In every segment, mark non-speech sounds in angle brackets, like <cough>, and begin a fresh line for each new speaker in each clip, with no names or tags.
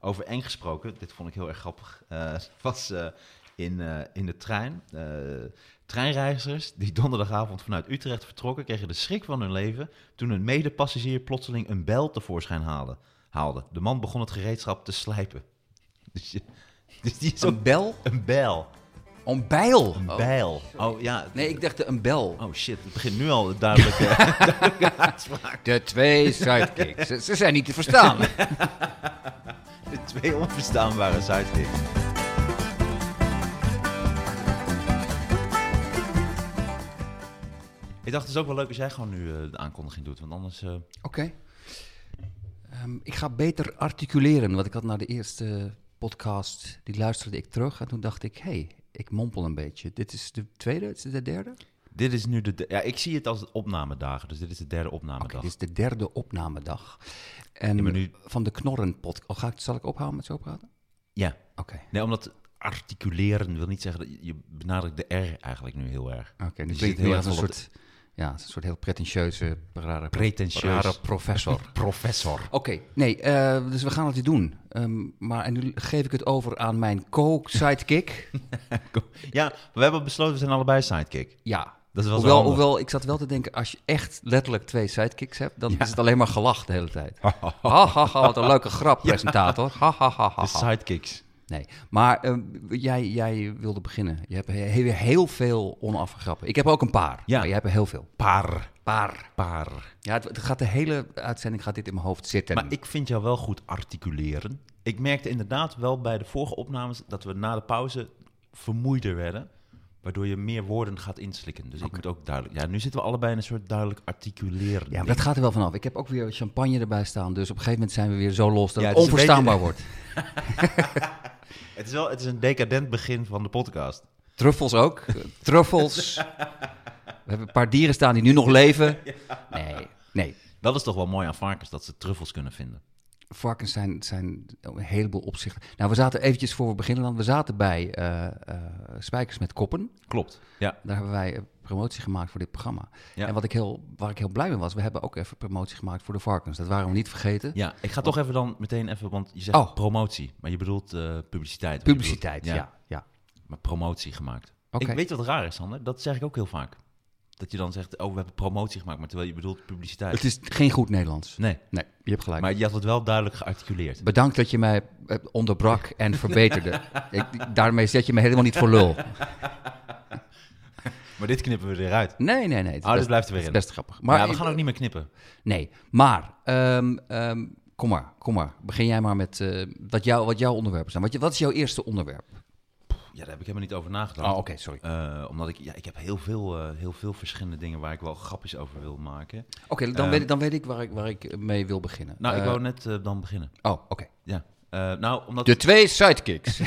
Over eng gesproken, dit vond ik heel erg grappig. eh, <laughs> was eh, in, eh, in de trein. eh, treinreizigers die donderdagavond vanuit Utrecht vertrokken, kregen de schrik van hun leven toen een medepassagier plotseling een bel tevoorschijn haalde. haalde. De man begon het gereedschap te slijpen. <laughs> Dus, je- dus die is ook
Een bel?
een bel.
Een bijl?
Een
Oh.
bijl. Oh ja.
Nee, ik dacht een bel.
Oh shit, het begint nu al duidelijk. eh,
De twee sidekicks. ze, ze zijn niet te verstaan.
<laughs> de twee onverstaanbare sidekicks. Ik dacht, het is ook wel leuk als jij gewoon nu eh, de aankondiging doet. Want anders... eh,
Oké. Ehm, ik ga beter articuleren, want ik had na de eerste podcast, die luisterde ik terug. En toen dacht ik, hé, hey, ik mompel een beetje. Dit is de tweede, dit is de derde? Oké,
dit is nu de... de- Ja, ik zie het als opnamedagen. Dus dit is de derde opnamedag.
dit is de derde opnamedag. En
Ja, maar nu-
van de Knorren podcast. Oh, ga ik, zal ik ophouden met zo praten?
Ja.
Oké.
Nee, omdat articuleren wil niet zeggen... Dat je je benadrukt de R eigenlijk nu heel erg.
Oké, nu
Je
klinkt
zit
het heel erg een
vol op
soort, ja, een soort heel pretentieuze, rare,
Pretentieus.
rare professor.
de- Professor.
Oké, nee, eh, dus we gaan het hier doen. Ehm, maar en nu geef ik het over aan
<laughs>
mijn co-sidekick.
Ja, maar we hebben besloten, we zijn allebei sidekick.
ja.
Dat is wel zo
hoewel,
handig.
hoewel, ik zat wel te denken, als je echt letterlijk twee sidekicks hebt, dan is het alleen maar gelach de hele
<laughs>
tijd. ha, ha, ha, wat een leuke grap, presentator. Ha, ha, ha, ha,
De
ha.
sidekicks.
Nee, maar ehm, jij, jij wilde beginnen. Je hebt he- he- heel veel onafge grappen. Ik heb ook een paar,
Ja.
maar jij hebt er heel veel.
Paar.
Paar.
Paar.
Ja, het, het gaat de hele uitzending gaat dit in mijn hoofd zitten.
Maar ik vind jou wel goed articuleren. Ik merkte inderdaad wel bij de vorige opnames dat we na de pauze vermoeider werden. Waardoor je meer woorden gaat inslikken. Dus ik moet ook duidelijk. Ja, nu zitten we allebei in een soort duidelijk articuleren.
Ja, maar dat gaat er wel vanaf. Ik heb ook weer champagne erbij staan. Dus op een gegeven moment zijn we weer zo los dat
Ja, dus
het
het is een
onverstaanbaar wordt.
<laughs> Het is wel het is een decadent begin van de podcast.
Truffels ook. Eh, Truffels. We hebben een paar dieren staan die nu nog
<laughs>
leven. Nee, nee.
Dat is toch wel mooi aan varkens dat ze truffels kunnen vinden.
Varkens zijn, zijn een heleboel opzichten. Nou, we zaten eventjes voor we beginnen dan. We zaten bij eh, eh, Spijkers met Koppen.
Klopt. Ja.
Daar hebben wij eh, promotie gemaakt voor dit programma.
Ja.
En wat ik heel, waar ik heel blij mee was, we hebben ook even promotie gemaakt voor de varkens. Dat waren we niet vergeten.
Ja, ik ga toch even dan meteen even, want je zegt
Oh.
promotie, maar je bedoelt eh, publiciteit. Je
Publiciteit,
bedoelt-
ja. ja.
Maar promotie gemaakt.
Oké.
Ik weet wat raar is, Sander. Dat zeg ik ook heel vaak. Dat je dan zegt, oh, we hebben promotie gemaakt, maar terwijl je bedoelt publiciteit.
Het is geen goed Nederlands.
Nee,
Nee, je hebt gelijk.
maar je had het wel duidelijk gearticuleerd.
Bedankt dat je mij eh, onderbrak en
<laughs>
verbeterde. Ik, daarmee zet je me helemaal niet voor lul.
Maar dit knippen we eruit.
Nee, nee, nee. Het is
Oh, dit blijft er weer
het
in.
is best grappig. Maar
ja, we gaan ook niet meer knippen.
Nee, maar ehm, ehm, kom maar, kom maar. Begin jij maar met eh, wat, jou, wat jouw onderwerpen zijn. Wat, je- wat is jouw eerste onderwerp?
Oh, Ja, daar heb ik helemaal niet over nagedacht.
Oh, oké, sorry.
Eh, omdat ik, ja, ik heb heel veel, eh, heel veel verschillende dingen waar ik wel grapjes over wil maken.
Oké, dan,
ehm,
weet, ik- dan weet ik waar ik, waar ik mee wil beginnen.
Nou, ik
Eh,
wou net eh, dan beginnen.
Oh, oké.
Ja. Eh, nou, omdat...
De twee sidekicks.
<laughs>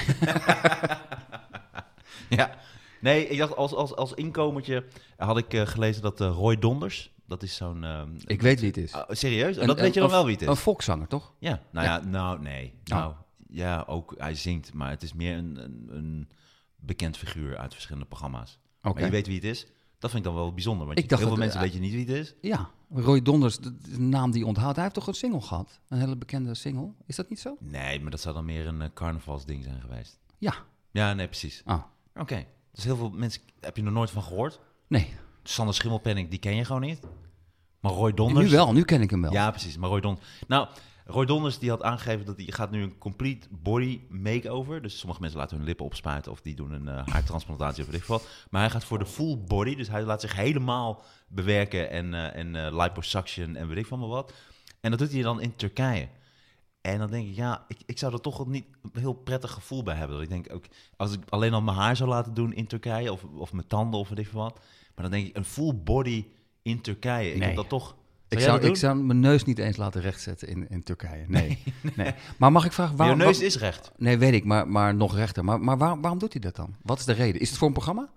Ja. Nee, ik dacht als, als, als inkomertje had ik eh, gelezen dat eh, Roy Donders, dat is zo'n... ehm,
<laughs> ik weet wie het is.
oh, serieus? Oh,
Een-
dat weet je
een-
dan wel wie het is?
Een volkszanger, toch?
Ja, nou ja, nou nee.
Oh.
Nou ja, ook hij zingt, maar het is meer een, een, een bekend figuur uit verschillende programma's.
Oké.
Maar je weet wie het is. Dat vind ik dan wel bijzonder, want
Ik
je-
dacht
heel
dat-
veel mensen
eh,
weten niet wie het is.
Ja, Roy Donders, de, de naam die je onthoudt. Hij heeft toch een single gehad? Een hele bekende single. Is dat niet zo?
Nee, maar dat zou dan meer een eh, carnavalsding zijn geweest.
Ja.
Ja, nee, precies.
Ah,
Oké, dus heel veel mensen heb je nog nooit van gehoord.
nee.
Sander Schimmelpenning, die ken je gewoon niet. Maar Roy
En
Donders...
nu wel, nu ken ik hem wel.
Ja, precies. Maar Roy Donders... Nou, Roy Donders die had aangegeven dat hij gaat nu een complete body makeover. Dus sommige mensen laten hun lippen opspuiten of die doen een eh, haartransplantatie of weet ik veel wat. Maar hij gaat voor de full body. Dus hij laat zich helemaal bewerken en, eh, en eh, liposuction en weet ik van maar wat. En dat doet hij dan in Turkije. En dan denk ik, ja, ik, ik zou er toch wel niet een heel prettig gevoel bij hebben. Dat ik denk, ook, als ik alleen al mijn haar zou laten doen in Turkije, of, of mijn tanden of weet ik veel wat. Maar dan denk ik, een full body in Turkije. Ik
Nee.
heb dat toch...
Ik
jij dat
zou,
doen?
ik zou mijn neus niet eens laten rechtzetten in, in Turkije. Nee. nee, Maar mag ik vragen
Maar
waarom.
Jouw neus
wat-
is recht.
Nee, weet ik, maar, maar nog rechter. Maar, maar waar- waarom doet hij dat dan? Wat is de reden? Is het voor een programma?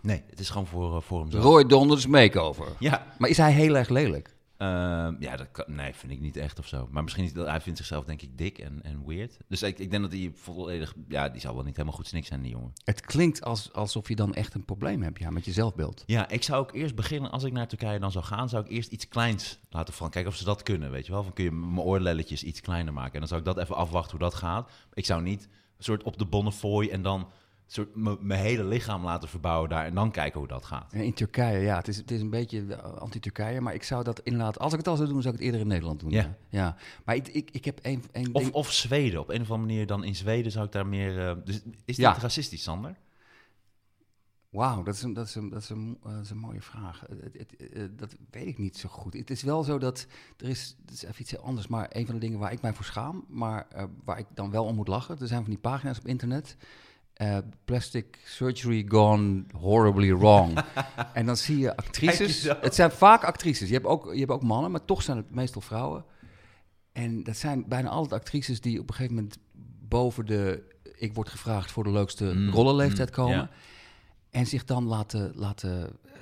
Nee, het is gewoon voor, eh, voor hem zo.
Roy Donders Makeover.
Ja,
Maar is hij heel erg lelijk?
Ehm, ja, dat kan, nee, vind ik niet echt of zo. Maar misschien is dat, hij vindt zichzelf denk ik dik en, en weird. Dus ik, ik denk dat hij volledig, ja, die zal wel niet helemaal goed snik zijn, die jongen.
Het klinkt als, alsof je dan echt een probleem hebt ja, met je zelfbeeld.
Ja, ik zou ook eerst beginnen, als ik naar Turkije dan zou gaan, zou ik eerst iets kleins laten vallen. Kijken of ze dat kunnen, weet je wel. Van kun je m- mijn oorlelletjes iets kleiner maken. En dan zou ik dat even afwachten hoe dat gaat. Ik zou niet een soort op de bonnefooi en dan een soort m- mijn hele lichaam laten verbouwen daar. En dan kijken hoe dat gaat.
En in Turkije, ja, het is, het is een beetje eh, anti-Turkije, maar ik zou dat inderdaad, als ik het al zou doen, zou ik het eerder in Nederland doen.
Ja.
Ja. ja. Maar ik, ik, ik heb één één
Of,
ding-
of Zweden, op een of andere manier dan in Zweden zou ik daar meer... eh, dus is
Ja.
dat racistisch, Sander?
Wauw, dat is een, dat is een, dat is een, eh, dat is een mooie vraag. Eh, het- het- eh, dat weet ik niet zo goed. Het is wel zo dat er is, het is even iets heel anders, maar een van de dingen waar ik mij voor schaam, maar eh, waar ik dan wel om moet lachen, er zijn van die pagina's op internet. eh, plastic surgery gone horribly
<laughs>
wrong. en dan zie je actrices.
Kijk je zo.
het zijn vaak actrices. Je hebt, ook, je hebt ook mannen, maar toch zijn het meestal vrouwen. En dat zijn bijna altijd actrices die op een gegeven moment boven de ik word gevraagd voor de leukste
Mm,
rollenleeftijd
mm,
komen.
ja.
En zich dan laten, laten, eh,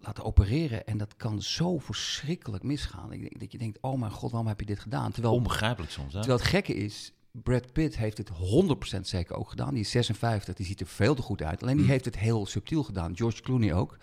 laten opereren. En dat kan zo verschrikkelijk misgaan. Ik denk, dat je denkt, oh mijn god, waarom heb je dit gedaan? Terwijl,
Onbegrijpelijk soms, hè?
Oh. terwijl het gekke is, Brad Pitt heeft het 100% zeker ook gedaan. Die is 56, die ziet er veel te goed uit. Alleen
Mm.
die heeft het heel subtiel gedaan. George Clooney ook.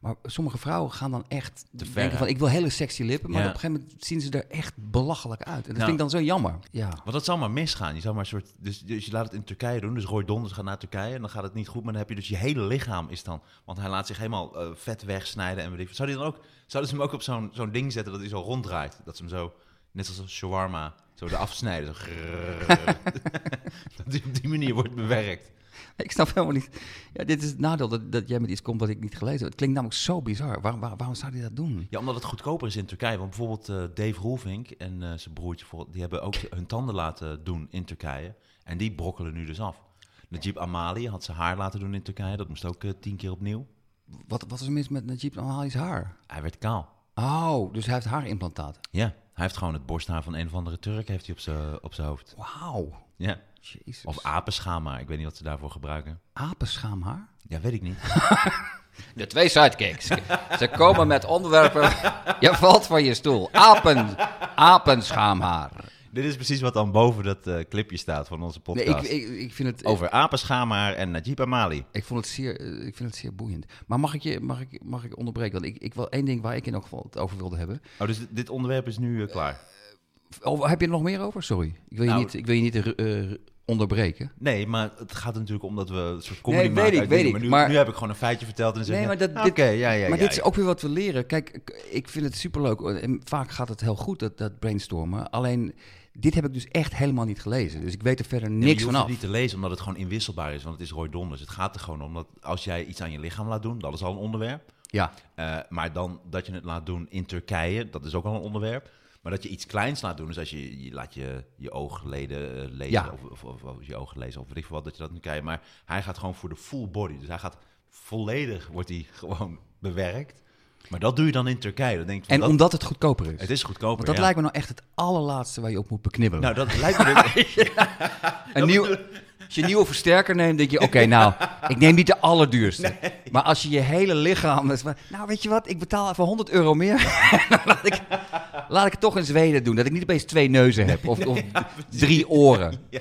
Maar sommige vrouwen gaan dan echt
ver,
denken
hè?
van... ik wil hele sexy lippen, maar
Ja. Nou.
op een gegeven moment zien ze er echt belachelijk uit. En dat
Ja.
vind ik dan zo jammer. Ja.
Want dat zal maar misgaan. Je zou maar een soort, dus, dus je laat het in Turkije doen. Dus Roy Donders gaat naar Turkije en dan gaat het niet goed. Maar dan heb je dus je hele lichaam is dan... Want hij laat zich helemaal eh, vet wegsnijden en weet ik veel. Zou die dan ook, zouden ze hem ook op zo'n zo'n ding zetten dat hij zo ronddraait? Dat ze hem zo, net als een shawarma, zo eraf snijden. Zo grrrr.
<laughs>
<laughs> dat hij op die manier wordt bewerkt.
Ik snap helemaal niet. Ja, dit is het nadeel dat, dat jij met iets komt wat ik niet gelezen heb. Het klinkt namelijk zo bizar. Waar, waar- waarom zou hij dat doen?
Ja, omdat het goedkoper is in Turkije. Want bijvoorbeeld eh, Dave Roelvink en eh, zijn broertje, voor- die hebben ook hun tanden laten doen in Turkije. En die brokkelen nu dus af. Najib Amali had zijn haar laten doen in Turkije. Dat moest ook eh, tien keer opnieuw.
Wat, wat is er mis met Najib Amali's haar?
Hij werd kaal.
Oh, dus hij heeft haarimplantaten.
Ja, hij heeft gewoon het borsthaar van een of andere Turk heeft hij op zijn op zijn hoofd.
Wauw.
Ja.
Jezus.
Of apenschaamhaar. Ik weet niet wat ze daarvoor gebruiken.
apenschaamhaar?
Ja, weet ik niet.
<laughs> De twee sidekicks. <laughs> Ze komen met onderwerpen. Je valt van je stoel. Apen, apenschaamhaar.
Dit is precies wat dan boven dat eh, clipje staat van onze
Nee,
podcast.
ik, ik, ik vind het...
Over apenschaamhaar en Najib Amali.
Ik, vond het zeer, eh, ik vind het zeer boeiend. Maar mag ik je mag ik, mag ik onderbreken? Want ik, ik wil één ding waar ik in elk geval het over wilde hebben.
Oh, dus dit- dit onderwerp is nu eh, klaar.
Oh, heb je er nog meer over? Sorry. Ik wil je
Nou,
niet, ik wil je niet eh, eh, onderbreken.
Nee, maar het gaat er natuurlijk om dat we een soort comedy
Nee, weet
maken.
ik,
uit
weet
dingen. Maar nu,
ik, maar-
nu heb ik gewoon een feitje verteld en zeg
Nee,
je, "Ah,
maar dat-
oké,
dit-
ja, ja,
maar
ja,
dit is ook weer wat we leren. Kijk, ik- ik vind het superleuk. Oh, En vaak gaat het heel goed, dat, dat brainstormen. Alleen, dit heb ik dus echt helemaal niet gelezen. Dus ik weet er verder
Nee, maar
niks
je
van
hoeft
af.
het niet te lezen, omdat het gewoon inwisselbaar is. Want het is Roy Donders. Het gaat er gewoon om dat als jij iets aan je lichaam laat doen, dat is al een onderwerp.
Ja.
Eh, maar dan dat je het laat doen in Turkije, dat is ook al een onderwerp. Maar dat je iets kleins laat doen, dus als je, je laat je, je oogleden eh, lezen,
Ja.
of, of, of, of je ogen lezen, of weet ik veel wat, dat je dat in Turkije... Maar hij gaat gewoon voor de full body. Dus hij gaat volledig, wordt hij gewoon bewerkt. Maar dat doe je dan in Turkije. Dan denk ik van,
En
dat-
omdat het goedkoper is.
het is goedkoper,
Want dat
ja.
lijkt me nou echt het allerlaatste waar je op moet beknibbelen.
Nou, dat lijkt me
<laughs>
dus-
een nieuw, als je een nieuwe versterker neemt, denk je, oké,
<laughs>
nou, ik neem niet de allerduurste. Maar als je je hele lichaam... dat is maar- nou, weet je wat, ik betaal even 100 euro meer. <laughs> Dan laat, ik, laat ik het toch in Zweden doen. Dat ik niet opeens twee neuzen heb
<laughs>
of, of drie oren.
Ja.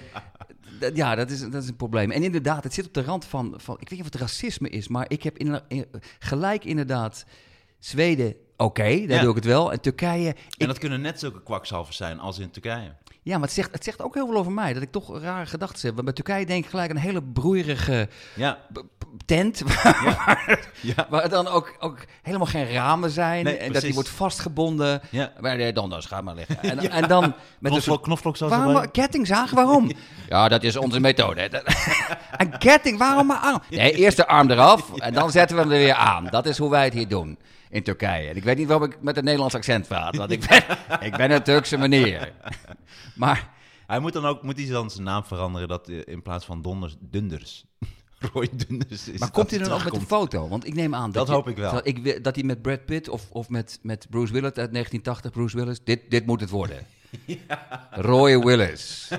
Dat- Ja, dat is, dat is een probleem. En inderdaad, het zit op de rand van, van... Ik weet niet of het racisme is, maar ik heb inderdaad- in- gelijk inderdaad... Zweden, oké, daar
Ja.
doe ik het wel. En Turkije,
En dat kunnen net zulke kwakzalvers zijn als in Turkije.
Ja, maar het zegt, het zegt ook heel veel over mij. Dat ik toch rare gedachten heb. Want bij Turkije denk ik gelijk aan een hele broeierige
Ja,
b- b- tent. <laughs> Waar,
ja.
waar dan ook, ook helemaal geen ramen zijn.
Nee,
en dat die
precies.
wordt vastgebonden.
ja.
Maar nee, dan, dan ga maar
<laughs>
liggen. En, en dan met een soort...
Knoflook, knoflook zoals
Waarom
erbij.
een kettingzaag?
<laughs>
Waarom? Ja, dat is onze methode. hè. <laughs> Een ketting, waarom mijn arm? Nee, eerst de arm
<laughs>
eraf en dan zetten we hem er weer aan. Dat is hoe wij het hier doen in Turkije. En ik weet niet waarom ik met een Nederlands accent praat, want ik
<laughs>
ben, ik ben een Turkse meneer. Maar
Hij moet dan ook moet hij dan zijn naam veranderen dat eh, in plaats van Donders, Dunders. <laughs> Roy Dunders is.
Maar
dat
komt hij
hij
dan ook met een
terugkomt.
foto? Want ik neem aan dat...
Dat
je-
hoop ik wel.
Dat, ik, wil- dat hij met Brad Pitt of, of met, met Bruce Willis uit 1980... Bruce Willis, dit, dit
<laughs>
moet het worden. Roy Willis.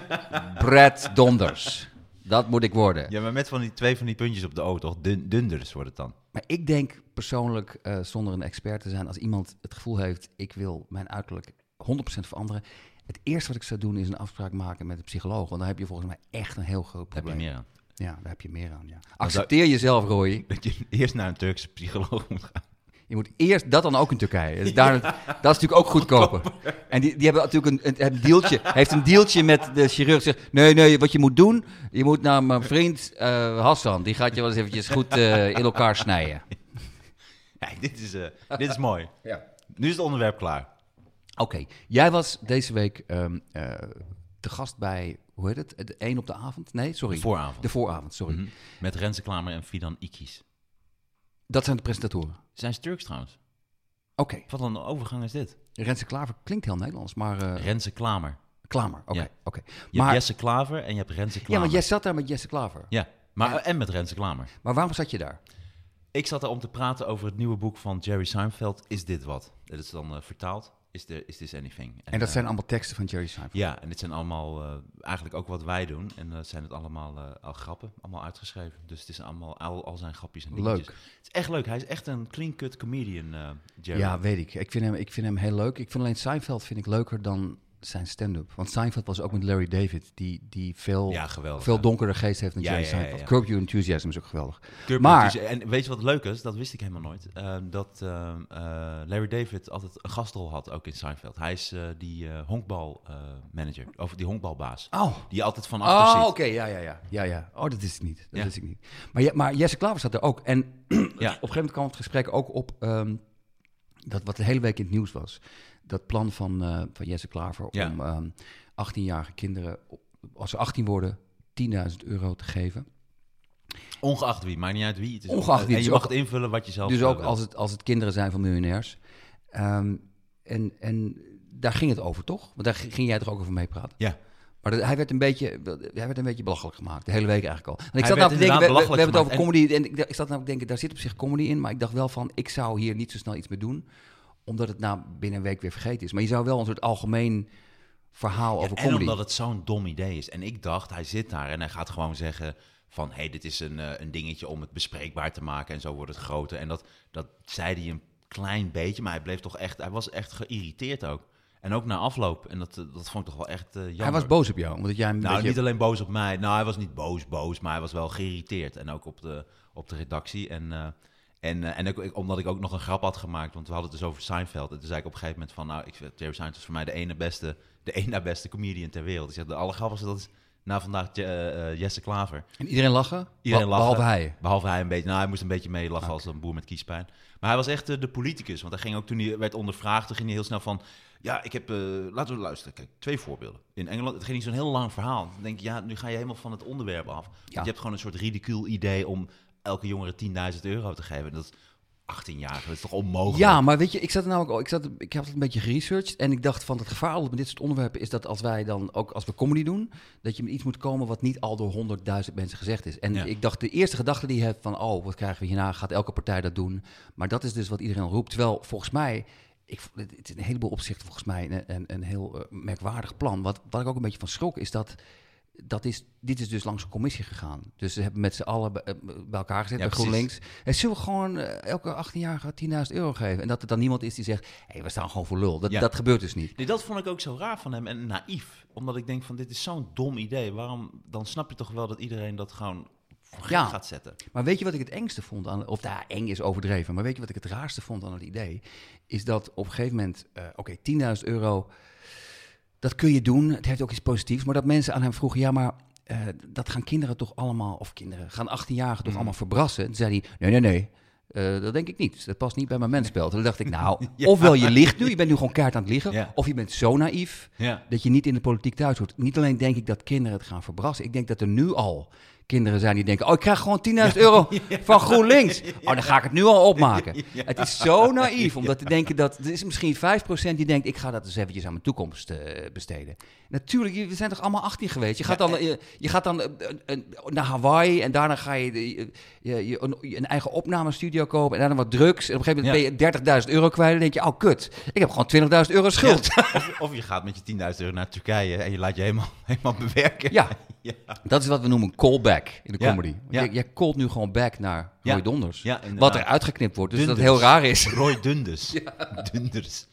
Brad Donders. Dat moet ik worden.
Ja, maar met van die twee van die puntjes op de O, toch? Dun, dunders wordt het dan.
Maar ik denk persoonlijk, eh, zonder een expert te zijn, als iemand het gevoel heeft, ik wil mijn uiterlijk 100% veranderen. Het eerste wat ik zou doen is een afspraak maken met een psycholoog. Want dan heb je volgens mij echt een heel groot
Daar heb
probleem.
je meer aan.
Ja, daar heb je meer aan. Ja. Accepteer jezelf, Roy.
Dat je <laughs> eerst naar een Turkse psycholoog moet gaan. <laughs>
Je moet eerst dat dan ook in Turkije. Dus daar, Dat is natuurlijk ook goedkoper. En die, die hebben natuurlijk een, een, een dealtje. Hij heeft een dealtje met de chirurg. Zegt: Nee, nee, wat je moet doen. Je moet naar mijn vriend eh, Hassan. Die gaat je wel eens eventjes goed eh, in elkaar snijden.
Hey, dit, is, eh, dit is mooi.
Ja.
Nu is het onderwerp klaar.
Oké, jij was deze week ehm, eh, te gast bij, hoe heet het? De één op de avond? Nee, sorry.
De vooravond.
De vooravond, sorry.
Mhm. Met Renze Klamer en Fidan Ikis.
Dat zijn de presentatoren.
Zijn ze Turks trouwens?
Oké,
Wat een overgang is dit?
Renze Klaver klinkt heel Nederlands, maar eh,
Renze Klamer.
Klamer. Oké,
Ja.
oké.
Je
Maar-
hebt Jesse Klaver en je hebt Renze Klamer.
Ja, want jij zat daar met Jesse Klaver.
Ja, maar, en met Renze Klamer.
Maar waarom zat je daar?
Ik zat daar om te praten over het nieuwe boek van Jerry Seinfeld, Is Dit Wat? Dat is dan eh, vertaald, Is, the, is This Anything?
En dat
eh,
zijn allemaal teksten van Jerry Seinfeld.
Ja, en dit zijn allemaal eh, eigenlijk ook wat wij doen. En dat zijn het allemaal eh, al grappen, allemaal uitgeschreven. Dus het is allemaal al, al zijn grapjes en dingetjes.
Leuk.
Het is echt leuk. Hij is echt een clean-cut comedian, eh,
Ja,
Jerry.
weet ik. Ik vind, hem, ik vind hem heel leuk. Ik vind alleen Seinfeld vind ik leuker dan zijn stand-up. Want Seinfeld was ook met Larry David, die, die veel,
Ja, geweldig.
veel donkere geest heeft dan
Ja,
Jerry
ja, ja,
Seinfeld.
ja.
Curb Your Enthusiasm is ook geweldig.
Curb
Maar-
Your Enthusiasm. En weet je wat leuk is? Dat wist ik helemaal nooit. Eh, dat eh, eh, Larry David altijd een gastrol had, ook in Seinfeld. Hij is eh, die honkbalmanager, of die honkbalbaas.
Oh,
Die je altijd van achter
Oh, oké,
ziet.
ja, ja, ja, ja, ja. Oh, dat is ik niet. Dat
Ja.
wist ik niet. Maar, ja, maar Jesse Klaver zat er ook. En <clears throat> op een
Ja.
gegeven moment kwam het gesprek ook op ehm, dat wat de hele week in het nieuws was. Dat plan van, eh, van Jesse Klaver
Ja.
om ehm, 18-jarige kinderen, op- als ze 18 worden, 10.000 euro te geven.
Ongeacht wie, maakt niet uit wie. Het is
Ongeacht wie,
En je
dus
mag
ook-
het invullen wat je zelf
Dus
eh,
ook
wil.
als het, als het kinderen zijn van miljonairs. Ehm, en, en daar ging het over, toch? Want daar g- ging jij toch ook over meepraten?
Ja.
Maar dat- hij werd, een beetje, hij werd een beetje belachelijk gemaakt, de hele week eigenlijk al. En ik
Hij
zat
werd
nou te denken, we, we- we
inderdaad
hebben het over
belachelijk
comedy. En ik, dacht- ik zat nou te denken, daar zit op zich comedy in. Maar ik dacht wel van, ik zou hier niet zo snel iets mee doen. Omdat het na binnen een week weer vergeten is. Maar je zou wel een soort algemeen verhaal
Ja,
over
en
comedy.
omdat het zo'n dom idee is. En ik dacht, hij zit daar en hij gaat gewoon zeggen van... hé, hey, dit is een, eh, een dingetje om het bespreekbaar te maken en zo wordt het groter. En dat, dat zei hij een klein beetje, maar hij bleef toch echt... hij was echt geïrriteerd ook. En ook na afloop. En dat, eh, dat vond ik toch wel echt eh jammer.
hij was boos op jou, omdat jij een
Nou,
beetje...
niet alleen boos op mij. Nou, hij was niet boos, boos, maar hij was wel geïrriteerd. En ook op de, op de redactie. En, eh, en, eh, en ook, ik- omdat ik ook nog een grap had gemaakt, want we hadden het dus over Seinfeld. En toen zei ik op een gegeven moment van, nou, ik, vind- Jerry Seinfeld is voor mij de ene beste, de <laughs> ene na beste comedian ter wereld. Ik zeg, de allergrappigste, dat is na vandaag Je- eh, eh, Jesse Klaver.
En iedereen lachen,
Iedereen
beh-
lachen.
behalve hij.
Behalve hij een beetje. Nou, hij moest een beetje meelachen als een boer met kiespijn. Maar hij was echt eh, de politicus. Want hij ging ook toen hij werd ondervraagd, toen ging hij heel snel van. Ja, ik heb. eh, laten we luisteren. Kijk, twee voorbeelden. In Engeland, het ging niet zo'n heel lang verhaal. Dan denk je, ja, nu ga je helemaal van het onderwerp af. Want
Ja.
Je hebt gewoon een soort ridicuul idee om elke jongere 10.000 euro te geven. En dat is 18 jaar. Dat is toch onmogelijk?
Ja, maar weet je, ik zat er namelijk al, ik, zat, ik heb het een beetje geresearched en ik dacht van het gevaar altijd met dit soort onderwerpen is dat als wij dan ook als we comedy doen, dat je met iets moet komen wat niet al door honderdduizend mensen gezegd is. En
Ja.
ik dacht de eerste gedachte die je hebt van oh, wat krijgen we hierna? Gaat elke partij dat doen? Maar dat is dus wat iedereen roept. Terwijl volgens mij ik, v- het is in een heleboel opzichten volgens mij een, een, een heel eh, merkwaardig plan. Wat, wat ik ook een beetje van schrok is dat dat is, dit is dus langs een commissie gegaan. Dus ze hebben met z'n allen bij eh, bij elkaar gezet
Ja,
bij
precies.
GroenLinks. En zullen we gewoon eh, elke 18-jarige 10.000 euro geven? En dat er dan niemand is die zegt, hé, we staan gewoon voor lul. Dat,
Ja.
dat gebeurt dus niet.
Nee, dat vond ik ook zo raar van hem en naïef. Omdat ik denk van, dit is zo'n dom idee. Waarom, dan snap je toch wel dat iedereen dat gewoon voor gek
Ja.
gaat zetten.
Maar weet je wat ik het engste vond aan... Of daar eng is overdreven. Maar weet je wat ik het raarste vond aan het idee? Is dat op een gegeven moment... eh, Oké, 10.000 euro, dat kun je doen. Het heeft ook iets positiefs. Maar dat mensen aan hem vroegen... Ja, maar eh, dat gaan kinderen toch allemaal... Of kinderen, gaan 18-jarigen
Mhm.
toch allemaal verbrassen? Toen zei hij, nee, nee, nee. eh, dat denk ik niet. Dat past niet bij mijn mensspel. Toen dacht ik,
<laughs>
nou,
Ja.
ofwel je liegt nu, je bent nu gewoon kaart aan het liegen,
Ja.
of je bent zo naïef
Ja.
dat je niet in de politiek thuis hoort. Niet alleen denk ik dat kinderen het gaan verbrassen. Ik denk dat er nu al kinderen zijn die denken... oh, ik krijg gewoon 10.000 euro van GroenLinks. Oh, dan ga ik het nu al opmaken. Het is zo naïef om dat te denken dat... er is misschien 5% die denkt... ik ga dat eens eventjes aan mijn toekomst eh, besteden. Natuurlijk, je- we zijn toch allemaal 18 geweest? Je gaat dan, eh, je gaat dan eh, eh, naar Hawaii en daarna ga je, de- je, je een, je een eigen opnamestudio kopen... en daarna wat drugs. En op een gegeven moment ben je 30.000 euro kwijt... en dan denk je, oh, kut, ik heb gewoon 20.000 euro schuld.
Of, <laughs> of je gaat met je 10.000 euro naar Turkije en je laat je helemaal, <laughs> helemaal bewerken.
Ja.
<laughs> ja.
Dat is wat we noemen een callback in de
Ja,
comedy. Want
ja.
Jij, jij callt nu gewoon back naar
Ja,
Roy Donders.
ja, inderdaad.
wat er uitgeknipt wordt, dus dat
Dunders.
heel raar is. <laughs>
Roy Dunders. Dunders.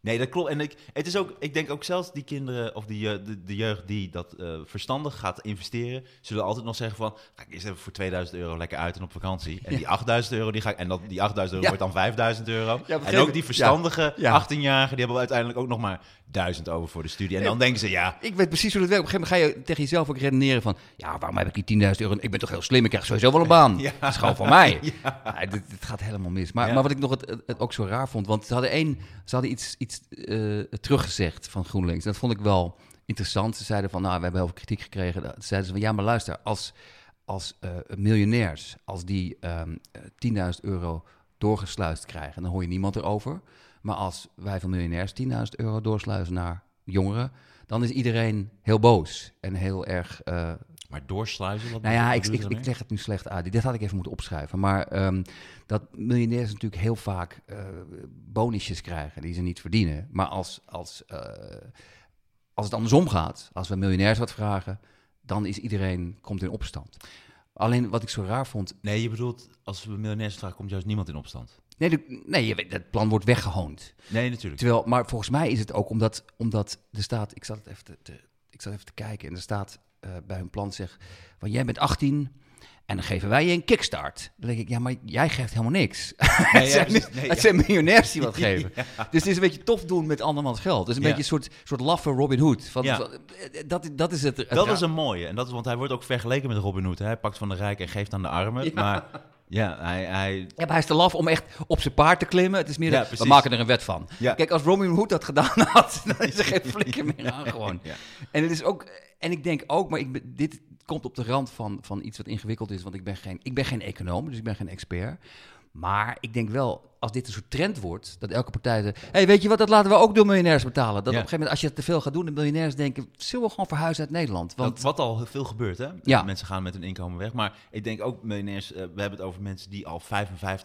Nee, dat klopt. En ik, het is ook, ik denk ook zelfs die kinderen of die, je- de, de jeugd die dat eh, verstandig gaat investeren, zullen altijd nog zeggen van, ga ik eerst even voor 2000 euro lekker uit en op vakantie. En die 8000 euro, die ga ik, en dat, die 8000 euro
Ja.
wordt dan 5000 euro.
Ja, begrepen.
en ook die verstandige
Ja, ja.
18-jarigen, die hebben uiteindelijk ook nog maar 1000 over voor de studie. En dan denken ze, ja,
Ik weet precies hoe dat werkt. Op een gegeven moment ga je tegen jezelf ook redeneren van... ja, waarom heb ik die 10.000 euro? Ik ben toch heel slim, ik krijg sowieso
<laughs>
wel een baan.
Ja.
Dat is gewoon van
<laughs>
mij. Ja, dit, dit gaat helemaal mis. Maar,
Ja.
maar wat ik nog het, het- het ook zo raar vond... want ze hadden, één, ze hadden iets, iets eh, teruggezegd van GroenLinks. Dat vond ik wel interessant. Ze zeiden van, nou, we hebben heel veel kritiek gekregen. Toen zeiden ze van, ja, maar luister, als, als eh, miljonairs... als die ehm, eh, 10.000 euro doorgesluist krijgen... dan hoor je niemand erover. Maar als wij van miljonairs 10.000 euro doorsluizen naar jongeren... dan is iedereen heel boos en heel erg... eh,
maar doorsluizen. Wat
nou ja,
bedoel-
ik,
bedoel je
ik,
daarmee?
ik leg het nu slecht uit. Dit had ik even moeten opschrijven. Maar ehm, dat miljonairs natuurlijk heel vaak eh bonusjes krijgen die ze niet verdienen. Maar als, als, eh, als het andersom gaat, als we miljonairs wat vragen, dan is iedereen komt in opstand. Alleen wat ik zo raar vond.
Nee, je bedoelt, als we miljonairs vragen, komt juist niemand in opstand.
Nee, de- nee je weet, dat plan wordt weggehoond.
Nee, natuurlijk.
Terwijl, maar volgens mij is het ook omdat, omdat er staat, ik zat het even te, te- ik zat even te kijken en er staat eh, bij hun plan zeg, van jij bent 18 en dan geven wij je een kickstart. Dan denk ik, ja, maar jij geeft helemaal niks.
Nee,
het
ja,
<laughs> zijn,
precies. Nee,
het
ja.
zijn miljonairs die wat
<laughs>
geven. Dus het is een beetje tof doen met andermans geld. Het is een
Ja.
beetje een soort, soort laffe Robin Hood. Van,
Ja.
van, eh, dat, dat is het. het
Dat
ra-
is een mooie. En dat is, want hij wordt ook vergeleken met Robin Hood. hè. Hij pakt van de rijken en geeft aan de armen.
Ja.
Maar ja, hij... hij
Ja, maar hij is te laf om echt op zijn paard te klimmen. Het is meer,
Ja,
dat, we
precies.
maken er een wet van.
Ja.
Kijk, als Robin Hood dat gedaan had, <laughs> dan is er
<laughs>
geen flikker meer aan gewoon.
ja.
En het is ook, en ik denk ook, maar ik, ben- dit komt op de rand van, van iets wat ingewikkeld is, want ik ben, geen, ik ben geen econoom, dus ik ben geen expert. Maar ik denk wel, als dit een soort trend wordt, dat elke partij zegt, hey, weet je wat, dat laten we ook door miljonairs betalen. Dat op een gegeven moment, als je dat te veel gaat doen, de miljonairs denken, zullen we gewoon verhuizen uit Nederland? Want
Dat- wat al veel gebeurt, hè?
Ja.
Mensen gaan met hun inkomen weg. Maar ik denk ook, miljonairs, eh, we hebben het over mensen die al 55%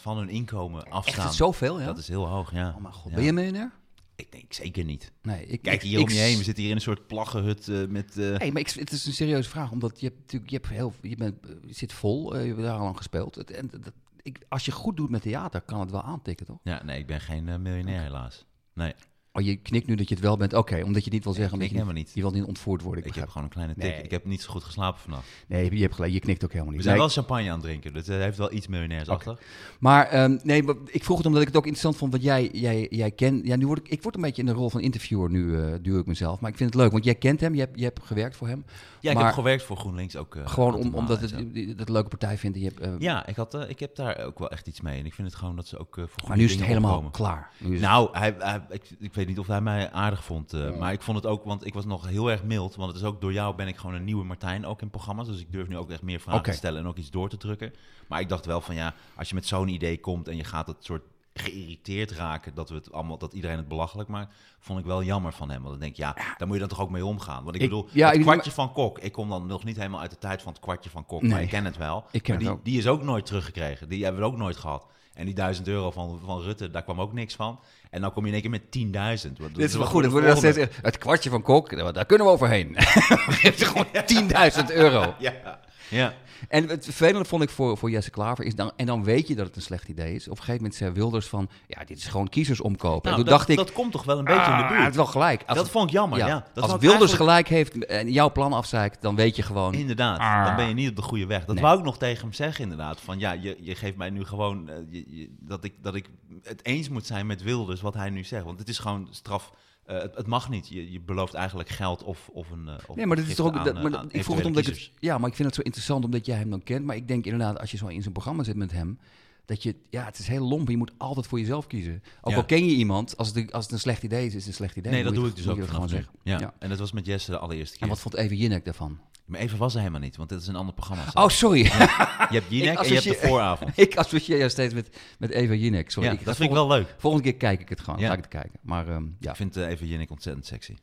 van hun inkomen
echt
afstaan.
het zoveel, ja?
Dat is heel hoog, ja.
Oh mijn god,
Ja.
ben je miljonair?
Ik denk zeker niet.
Nee, ik
Kijk
ik-
hier
ik
om je heen. We zitten hier in een soort plaggenhut eh, met... eh,
Nee, maar ik, het is een serieuze vraag, omdat je hebt natuurlijk, je hebt heel, je bent, je zit vol, eh, je hebt daar al lang gespeeld. Het, en dat, ik, als je goed doet met theater, kan het wel aantikken, toch?
Ja, nee, ik ben geen eh, miljonair helaas. Nee,
Oh, je knikt nu dat je het wel bent. Oké, omdat je het niet wil zeggen.
ik
omdat je
helemaal niet.
Je wil niet ontvoerd worden. Ik
Ik heb
begrijp.
gewoon een kleine tik.
Nee. Nou,
Ik heb niet zo goed geslapen vannacht.
Nee, je hebt gelijk. Je knikt ook helemaal
We
niet.
zijn
Nee,
wel champagne aan het drinken. Dat eh, heeft wel iets miljonairs achter.
Maar ehm, nee, maar ik vroeg het omdat ik het ook interessant vond. Want jij, jij, jij kent. Ja, nu word ik, ik word een beetje in de rol van interviewer nu eh, duw ik mezelf. Maar ik vind het leuk, want jij kent hem. Je hebt, je hebt gewerkt voor hem.
Ja, ik
maar
heb gewerkt voor GroenLinks ook. eh,
gewoon
een
om,
aantal
omdat
malen en
het,
zo.
je- dat een leuke partij vindt. En je hebt, eh,
Ja, ik, had, eh, ik heb daar ook wel echt iets mee. En ik vind het gewoon dat ze ook eh, voor
maar
goede
nu is het
dingen
helemaal
opkomen.
klaar. Nu is het-
Nou, hij, hij- ik, ik weet niet of hij mij aardig vond. eh, Maar ik vond het ook, want ik was nog heel erg mild. Want het is ook door jou ben ik gewoon een nieuwe Martijn ook in programma's. Dus ik durf nu ook echt meer vragen
Oké.
te stellen en ook iets door te drukken. Maar ik dacht wel van ja, als je met zo'n idee komt en je gaat het soort geïrriteerd raken dat we het allemaal dat iedereen het belachelijk maakt, vond ik wel jammer van hem. Want dan denk ik ja, daar moet je dan toch ook mee omgaan. Want ik,
Ik-
bedoel,
ja,
het
ik-
kwartje van Kok. Ik kom dan nog niet helemaal uit de tijd van het kwartje van Kok, maar
Nee.
ik ken het wel.
Ik ken
maar
het
die,
ook.
die is ook nooit teruggekregen. Die hebben we ook nooit gehad. En die 1000 euro van, van Rutte, daar kwam ook niks van. En dan kom je in één keer met 10.000. Wat-
Dit is wel
wat
goed. Het,
voor
wordt
de
dan steeds,
volgende?
het kwartje van Kok, nou, daar kunnen we overheen. <laughs> Geef ze
<laughs>
gewoon 10.000 euro.
Ja. Nou, ja.
En het vervelende vond ik voor, voor Jesse Klaver is dan... En dan weet je dat het een slecht idee is. Op een gegeven moment zei Wilders van... Ja, dit is gewoon kiezers omkopen. en
Nou,
toen
dat,
dacht ik...
dat komt toch wel een beetje in de
ah,
buurt.
hij heeft wel gelijk. Als,
dat vond ik jammer. Ja.
ja,
Dat
als
wou ik
Wilders
eigenlijk-
gelijk heeft en jouw plan afzeikt... dan weet je gewoon...
Inderdaad, dan ben je niet op de goede weg. Dat
Ah. Nee.
wou ik nog tegen hem zeggen, inderdaad. Van ja, je, je geeft mij nu gewoon eh, je- je- dat, ik, dat ik het eens moet zijn met Wilders wat hij nu zegt. Want het is gewoon straf. eh, het, het mag niet. Je, je belooft eigenlijk geld of, of een. eh, of
Nee, maar dat is
giften
toch ook...
aan,
dat-
eh,
maar
aan
ik vroeg
eventuele
het omdat ik
kiezers.
het... Ja, maar ik vind het zo interessant omdat jij hem dan kent. Maar ik denk inderdaad, als je zo in zijn programma zit met hem... Dat je, ja, het is heel lomp. Je moet altijd voor jezelf kiezen. Ook
Ja.
al ken je iemand, als het, als het een slecht idee is, is het een slecht idee.
Nee,
Dan
dat doe
moet
ik
je
dus
het-
ook
moet je dat
vanaf nu.
gewoon zeggen.
Ja.
Ja.
En dat was met Jesse de allereerste keer.
En wat vond Even Jinek daarvan?
Maar even was hij helemaal niet, want dit is een ander programma.
Oh, sorry.
Je hebt Jinek en je hebt de
associeer-
vooravond.
ik associeer jou steeds met, met Eva Jinek. <laughs> Sorry.
Ja,
ga
dat vind ik
volgende-
wel leuk.
Volgende keer kijk ik het gewoon.
Ja.
Ga ik het kijken. Maar ehm, ja.
Ik vind eh, Eva Jinnik ontzettend sexy.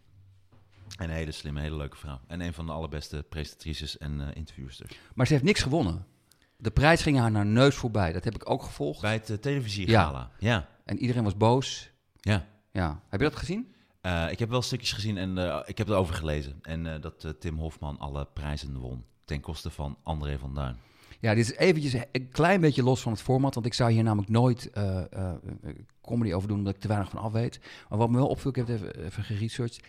En een hele slimme, hele leuke vrouw. En een van de allerbeste presentatrices en eh interviewsters.
Maar ze heeft niks gewonnen. De prijs ging haar naar neus voorbij. Dat heb ik ook gevolgd.
Bij het eh, televisiegala. Ja.
En iedereen was boos.
ja.
Ja. Heb je dat gezien?
Eh, ik heb wel stukjes gezien en eh, ik heb erover gelezen. En eh, dat eh, Tim Hofman alle prijzen won. Ten koste van André van Duin.
Ja, dit is eventjes een klein beetje los van het format. Want ik zou hier namelijk nooit eh, eh, eh, comedy over doen, omdat ik te weinig van af weet. Maar wat me wel opviel, ik heb het even, even geresearched. 1,8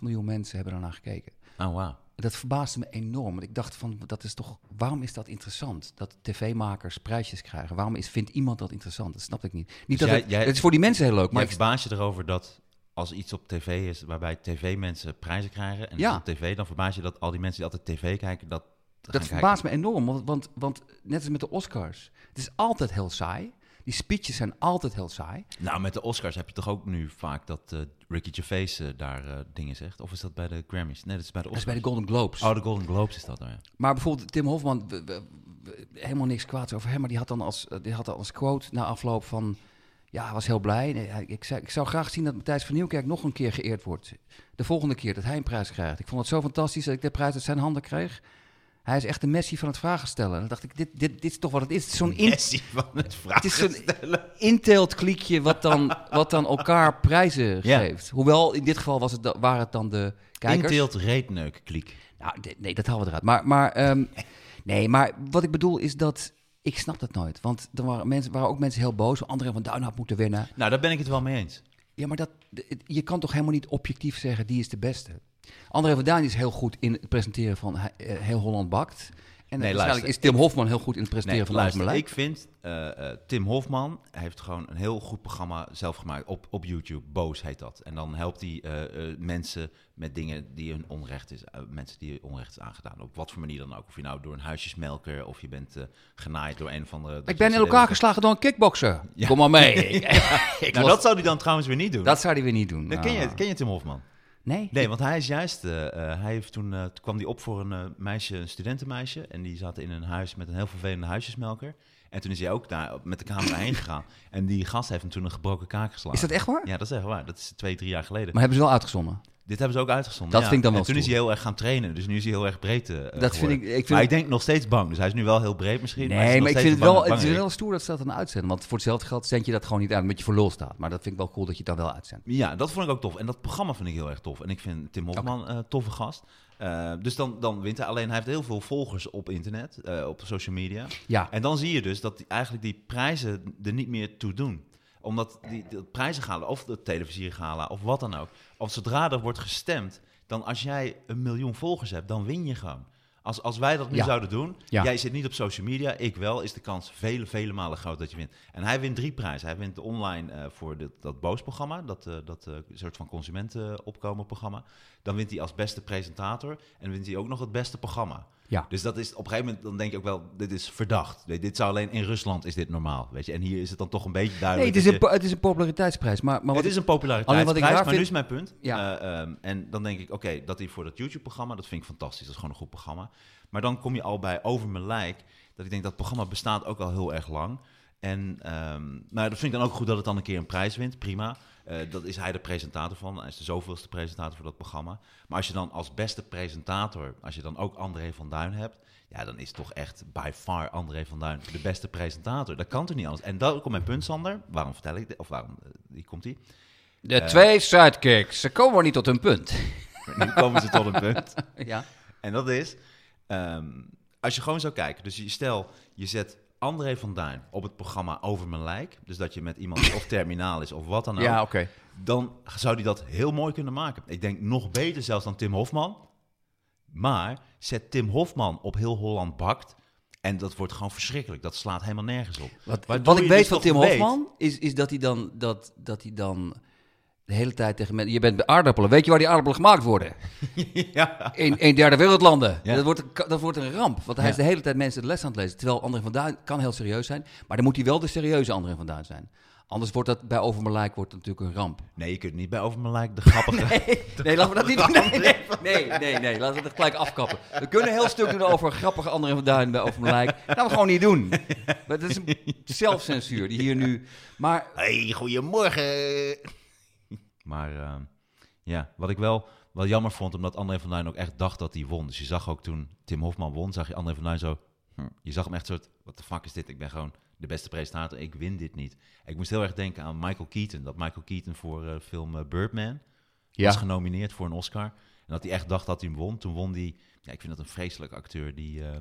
miljoen mensen hebben ernaar gekeken.
Oh, wauw.
Dat verbaasde me enorm. Want ik dacht van, dat is toch, waarom is dat interessant? Dat tv-makers prijsjes krijgen. Waarom is, vindt iemand dat interessant? Dat snapte ik niet. niet
Dus
dat
jij-
het,
jij-
het is voor die mensen heel leuk. Maar
Maar
ik,
verbaas je erover dat als iets op tv is waarbij tv-mensen prijzen krijgen. En
Ja.
iets op tv, dan verbaas je dat al die mensen die altijd tv kijken, dat gaan
dat
kijken.
verbaast me enorm. Want, want, want net als met de Oscars. Het is altijd heel saai. Die speeches zijn altijd heel saai.
Nou, met de Oscars heb je toch ook nu vaak dat eh, Ricky Gervais eh, daar eh, dingen zegt? Of is dat bij de Grammys? Nee, dat is bij de
Dat
Oscars.
is bij de Golden Globes.
Oh, de Golden Globes is dat nou ja.
Maar bijvoorbeeld Tim Hofman, we- we- we- helemaal niks kwaads over hem, maar die had dan als, eh, die had dan als quote na afloop van, ja, hij was heel blij. Nee, hij- Ik zou, ik zou graag zien dat Matthijs van Nieuwkerk nog een keer geëerd wordt. De volgende keer dat hij een prijs krijgt. Ik vond het zo fantastisch dat ik de prijs uit zijn handen kreeg. Hij is echt de Messi van het vragen stellen. En dan dacht ik, dit, dit, dit is toch wat het is. Het is zo'n in,
<laughs> Messi van het
het
vraag.
is zo'n inteelt kliekje
<laughs>
wat dan, wat dan elkaar prijzen
Ja.
geeft. Hoewel, in dit geval was het, da- waren het dan de kijkers.
Inteelt reetneuk, kliek.
Nou, d- nee, dat halen we eruit. Maar,
<laughs>
maar, ehm, nee, maar wat ik bedoel is dat... Ik snap dat nooit. Want er waren, mensen, waren ook mensen heel boos. Anderen van Duin had moeten winnen.
Nou, daar ben ik het wel mee eens.
Ja, maar dat, d- je kan toch helemaal niet objectief zeggen... die is de beste. André van Duin is heel goed in het presenteren van eh, Heel Holland Bakt.
Nee,
En waarschijnlijk
luister,
is Tim Hofman heel goed in het presenteren
Nee,
van Laat
luister,
Me
ik vind eh, eh, Tim Hofman heeft gewoon een heel goed programma zelf gemaakt op, op YouTube. Boos heet dat. En dan helpt hij eh, eh, mensen met dingen die hun onrecht is, eh, mensen die hun onrecht is aangedaan. Op wat voor manier dan ook. Of je nou door een huisjesmelker of je bent eh, genaaid door een of andere.
Ik ben in elkaar geslagen door een kickboxer. Kom maar
<laughs>
mee. Ik
Nou,
was-
dat zou hij dan trouwens weer niet doen.
dat zou hij weer niet doen.
Dan ken, je,
Ah.
ken je Tim Hofman?
Nee?
Nee, want hij is juist. eh, eh, hij heeft toen, eh, toen kwam hij op voor een eh, meisje, een studentenmeisje. En die zaten in een huis met een heel vervelende huisjesmelker. En toen is hij ook daar met de camera heen gegaan. En die gast heeft hem toen een gebroken kaak geslagen.
Is dat echt waar?
Ja, dat is echt waar. Dat is twee, drie jaar geleden.
Maar hebben ze wel uitgezonden?
Dit hebben ze ook uitgezonden.
Dat
ja.
vind ik dan wel
En toen
stoer.
is hij heel erg gaan trainen. Dus nu is hij heel erg breed. eh,
vind
geworden.
ik- ik vind
maar
het-
ik denk nog steeds bang. Dus hij is nu wel heel breed misschien. hij is
Nee,
nog
maar ik
steeds
vind het
een
wel,
bange-
het is
bangerik.
wel stoer dat ze dat dan uitzenden. Want voor hetzelfde geld zend je dat gewoon niet uit omdat je voor lul staat. Maar dat vind ik wel cool dat je het dan wel uitzendt.
Ja, dat vond ik ook tof. En dat programma vind ik heel erg tof. En ik vind Tim Hofman een toffe gast. Eh, dus dan, dan wint hij. Alleen hij heeft heel veel volgers op internet, eh, op social media.
Ja,
En dan zie je dus dat die, eigenlijk die prijzen er niet meer toe doen. Omdat die, die prijzen gala, of de televisiegala, of wat dan ook. Of zodra er wordt gestemd, dan als jij een miljoen volgers hebt, dan win je gewoon. Als, als wij dat nu
Ja.
zouden doen,
Ja.
jij zit niet op social media, ik wel, is de kans vele, vele malen groot dat je wint. En hij wint drie prijzen. Hij wint online eh, voor dit- dat Boos-programma, dat, eh, dat eh, soort van consumentenopkomen-programma. Dan wint hij als beste presentator en wint hij ook nog het beste programma.
ja.
Dus dat is op een gegeven moment, dan denk je ook wel, dit is verdacht. Weet je, Dit zou alleen in Rusland is dit normaal, weet je. En hier is het dan toch een beetje
Nee,
duidelijk.
het is
dat
een,
eh, je-
po- het is een populariteitsprijs. Maar, maar wat
het is een
Alleen wat ik
populariteitsprijs,
raar
maar
vind-
nu is mijn punt.
Ja.
Eh, ehm, en dan denk ik, oké, dat hij voor dat YouTube-programma, dat vind ik fantastisch. Dat is gewoon een goed programma. Maar dan kom je al bij Over Mijn Lijk, dat ik denk, dat programma bestaat ook al heel erg lang. En ehm nou, dat vind ik dan ook goed dat het dan een keer een prijs wint, prima. Eh, dat is hij de presentator van. Hij is de zoveelste presentator voor dat programma. Maar als je dan als beste presentator, als je dan ook André van Duin hebt, ja, dan is toch echt by far André van Duin de beste presentator. Dat kan toch niet anders. En daar komt mijn punt, Sander. Waarom vertel ik dit? Of waarom eh, die komt die?
de twee sidekicks, ze komen niet tot hun punt.
Maar nu komen ze tot een punt.
<laughs> ja.
<laughs> En dat is, ehm, als je gewoon zou kijken. Dus je, stel, je zet André van Duin op het programma Over Mijn Lijk. Dus dat je met iemand
<laughs>
die of terminaal is of wat dan ook.
ja, oké.
Dan zou die dat heel mooi kunnen maken. Ik denk nog beter zelfs dan Tim Hofman. Maar zet Tim Hofman op heel Holland bakt. En dat wordt gewoon verschrikkelijk. Dat slaat helemaal nergens op.
Wat,
Waardoor
wat
je
ik weet
dus
van
toch
Tim
weet-
Hofman is, is dat hij dan, dat, dat hij dan de hele tijd tegen mensen... Je bent bij aardappelen. Weet je waar die aardappelen gemaakt worden?
<laughs> ja.
In, in derde wereldlanden.
Ja.
Dat, wordt, een ka- dat wordt een ramp. Want hij
Ja.
is de hele tijd mensen de les aan het lezen. Terwijl André van Duin kan heel serieus zijn. Maar dan moet hij wel de serieuze André van Duin zijn. Anders wordt dat bij Over mijn lijk wordt het natuurlijk een ramp.
Nee, je kunt niet bij Over mijn lijk de grappige...
<laughs> Nee, laten we dat niet doen. Nee, nee, nee, nee, nee, laten we dat gelijk afkappen. We kunnen een heel stuk doen over grappige anderen van Duin bij Over mijn lijk. Dat gaan we gewoon niet doen. Maar dat is een
<laughs>
zelfcensuur die hier nu... Maar
Hey, goedemorgen. <laughs> Maar eh, ja, wat ik wel, wel jammer vond, omdat André van Duin ook echt dacht dat hij won. Dus je zag ook toen Tim Hofman won, zag je André van Duin zo... hm, Je zag hem echt soort, wat de fuck is dit? Ik ben gewoon de beste presentator, ik win dit niet. Ik moest heel erg denken aan Michael Keaton. Dat Michael Keaton voor eh, film eh, Birdman was genomineerd voor een Oscar. En dat hij echt dacht dat hij hem won. Toen won hij... Ja, ik vind dat een vreselijk acteur, die, eh,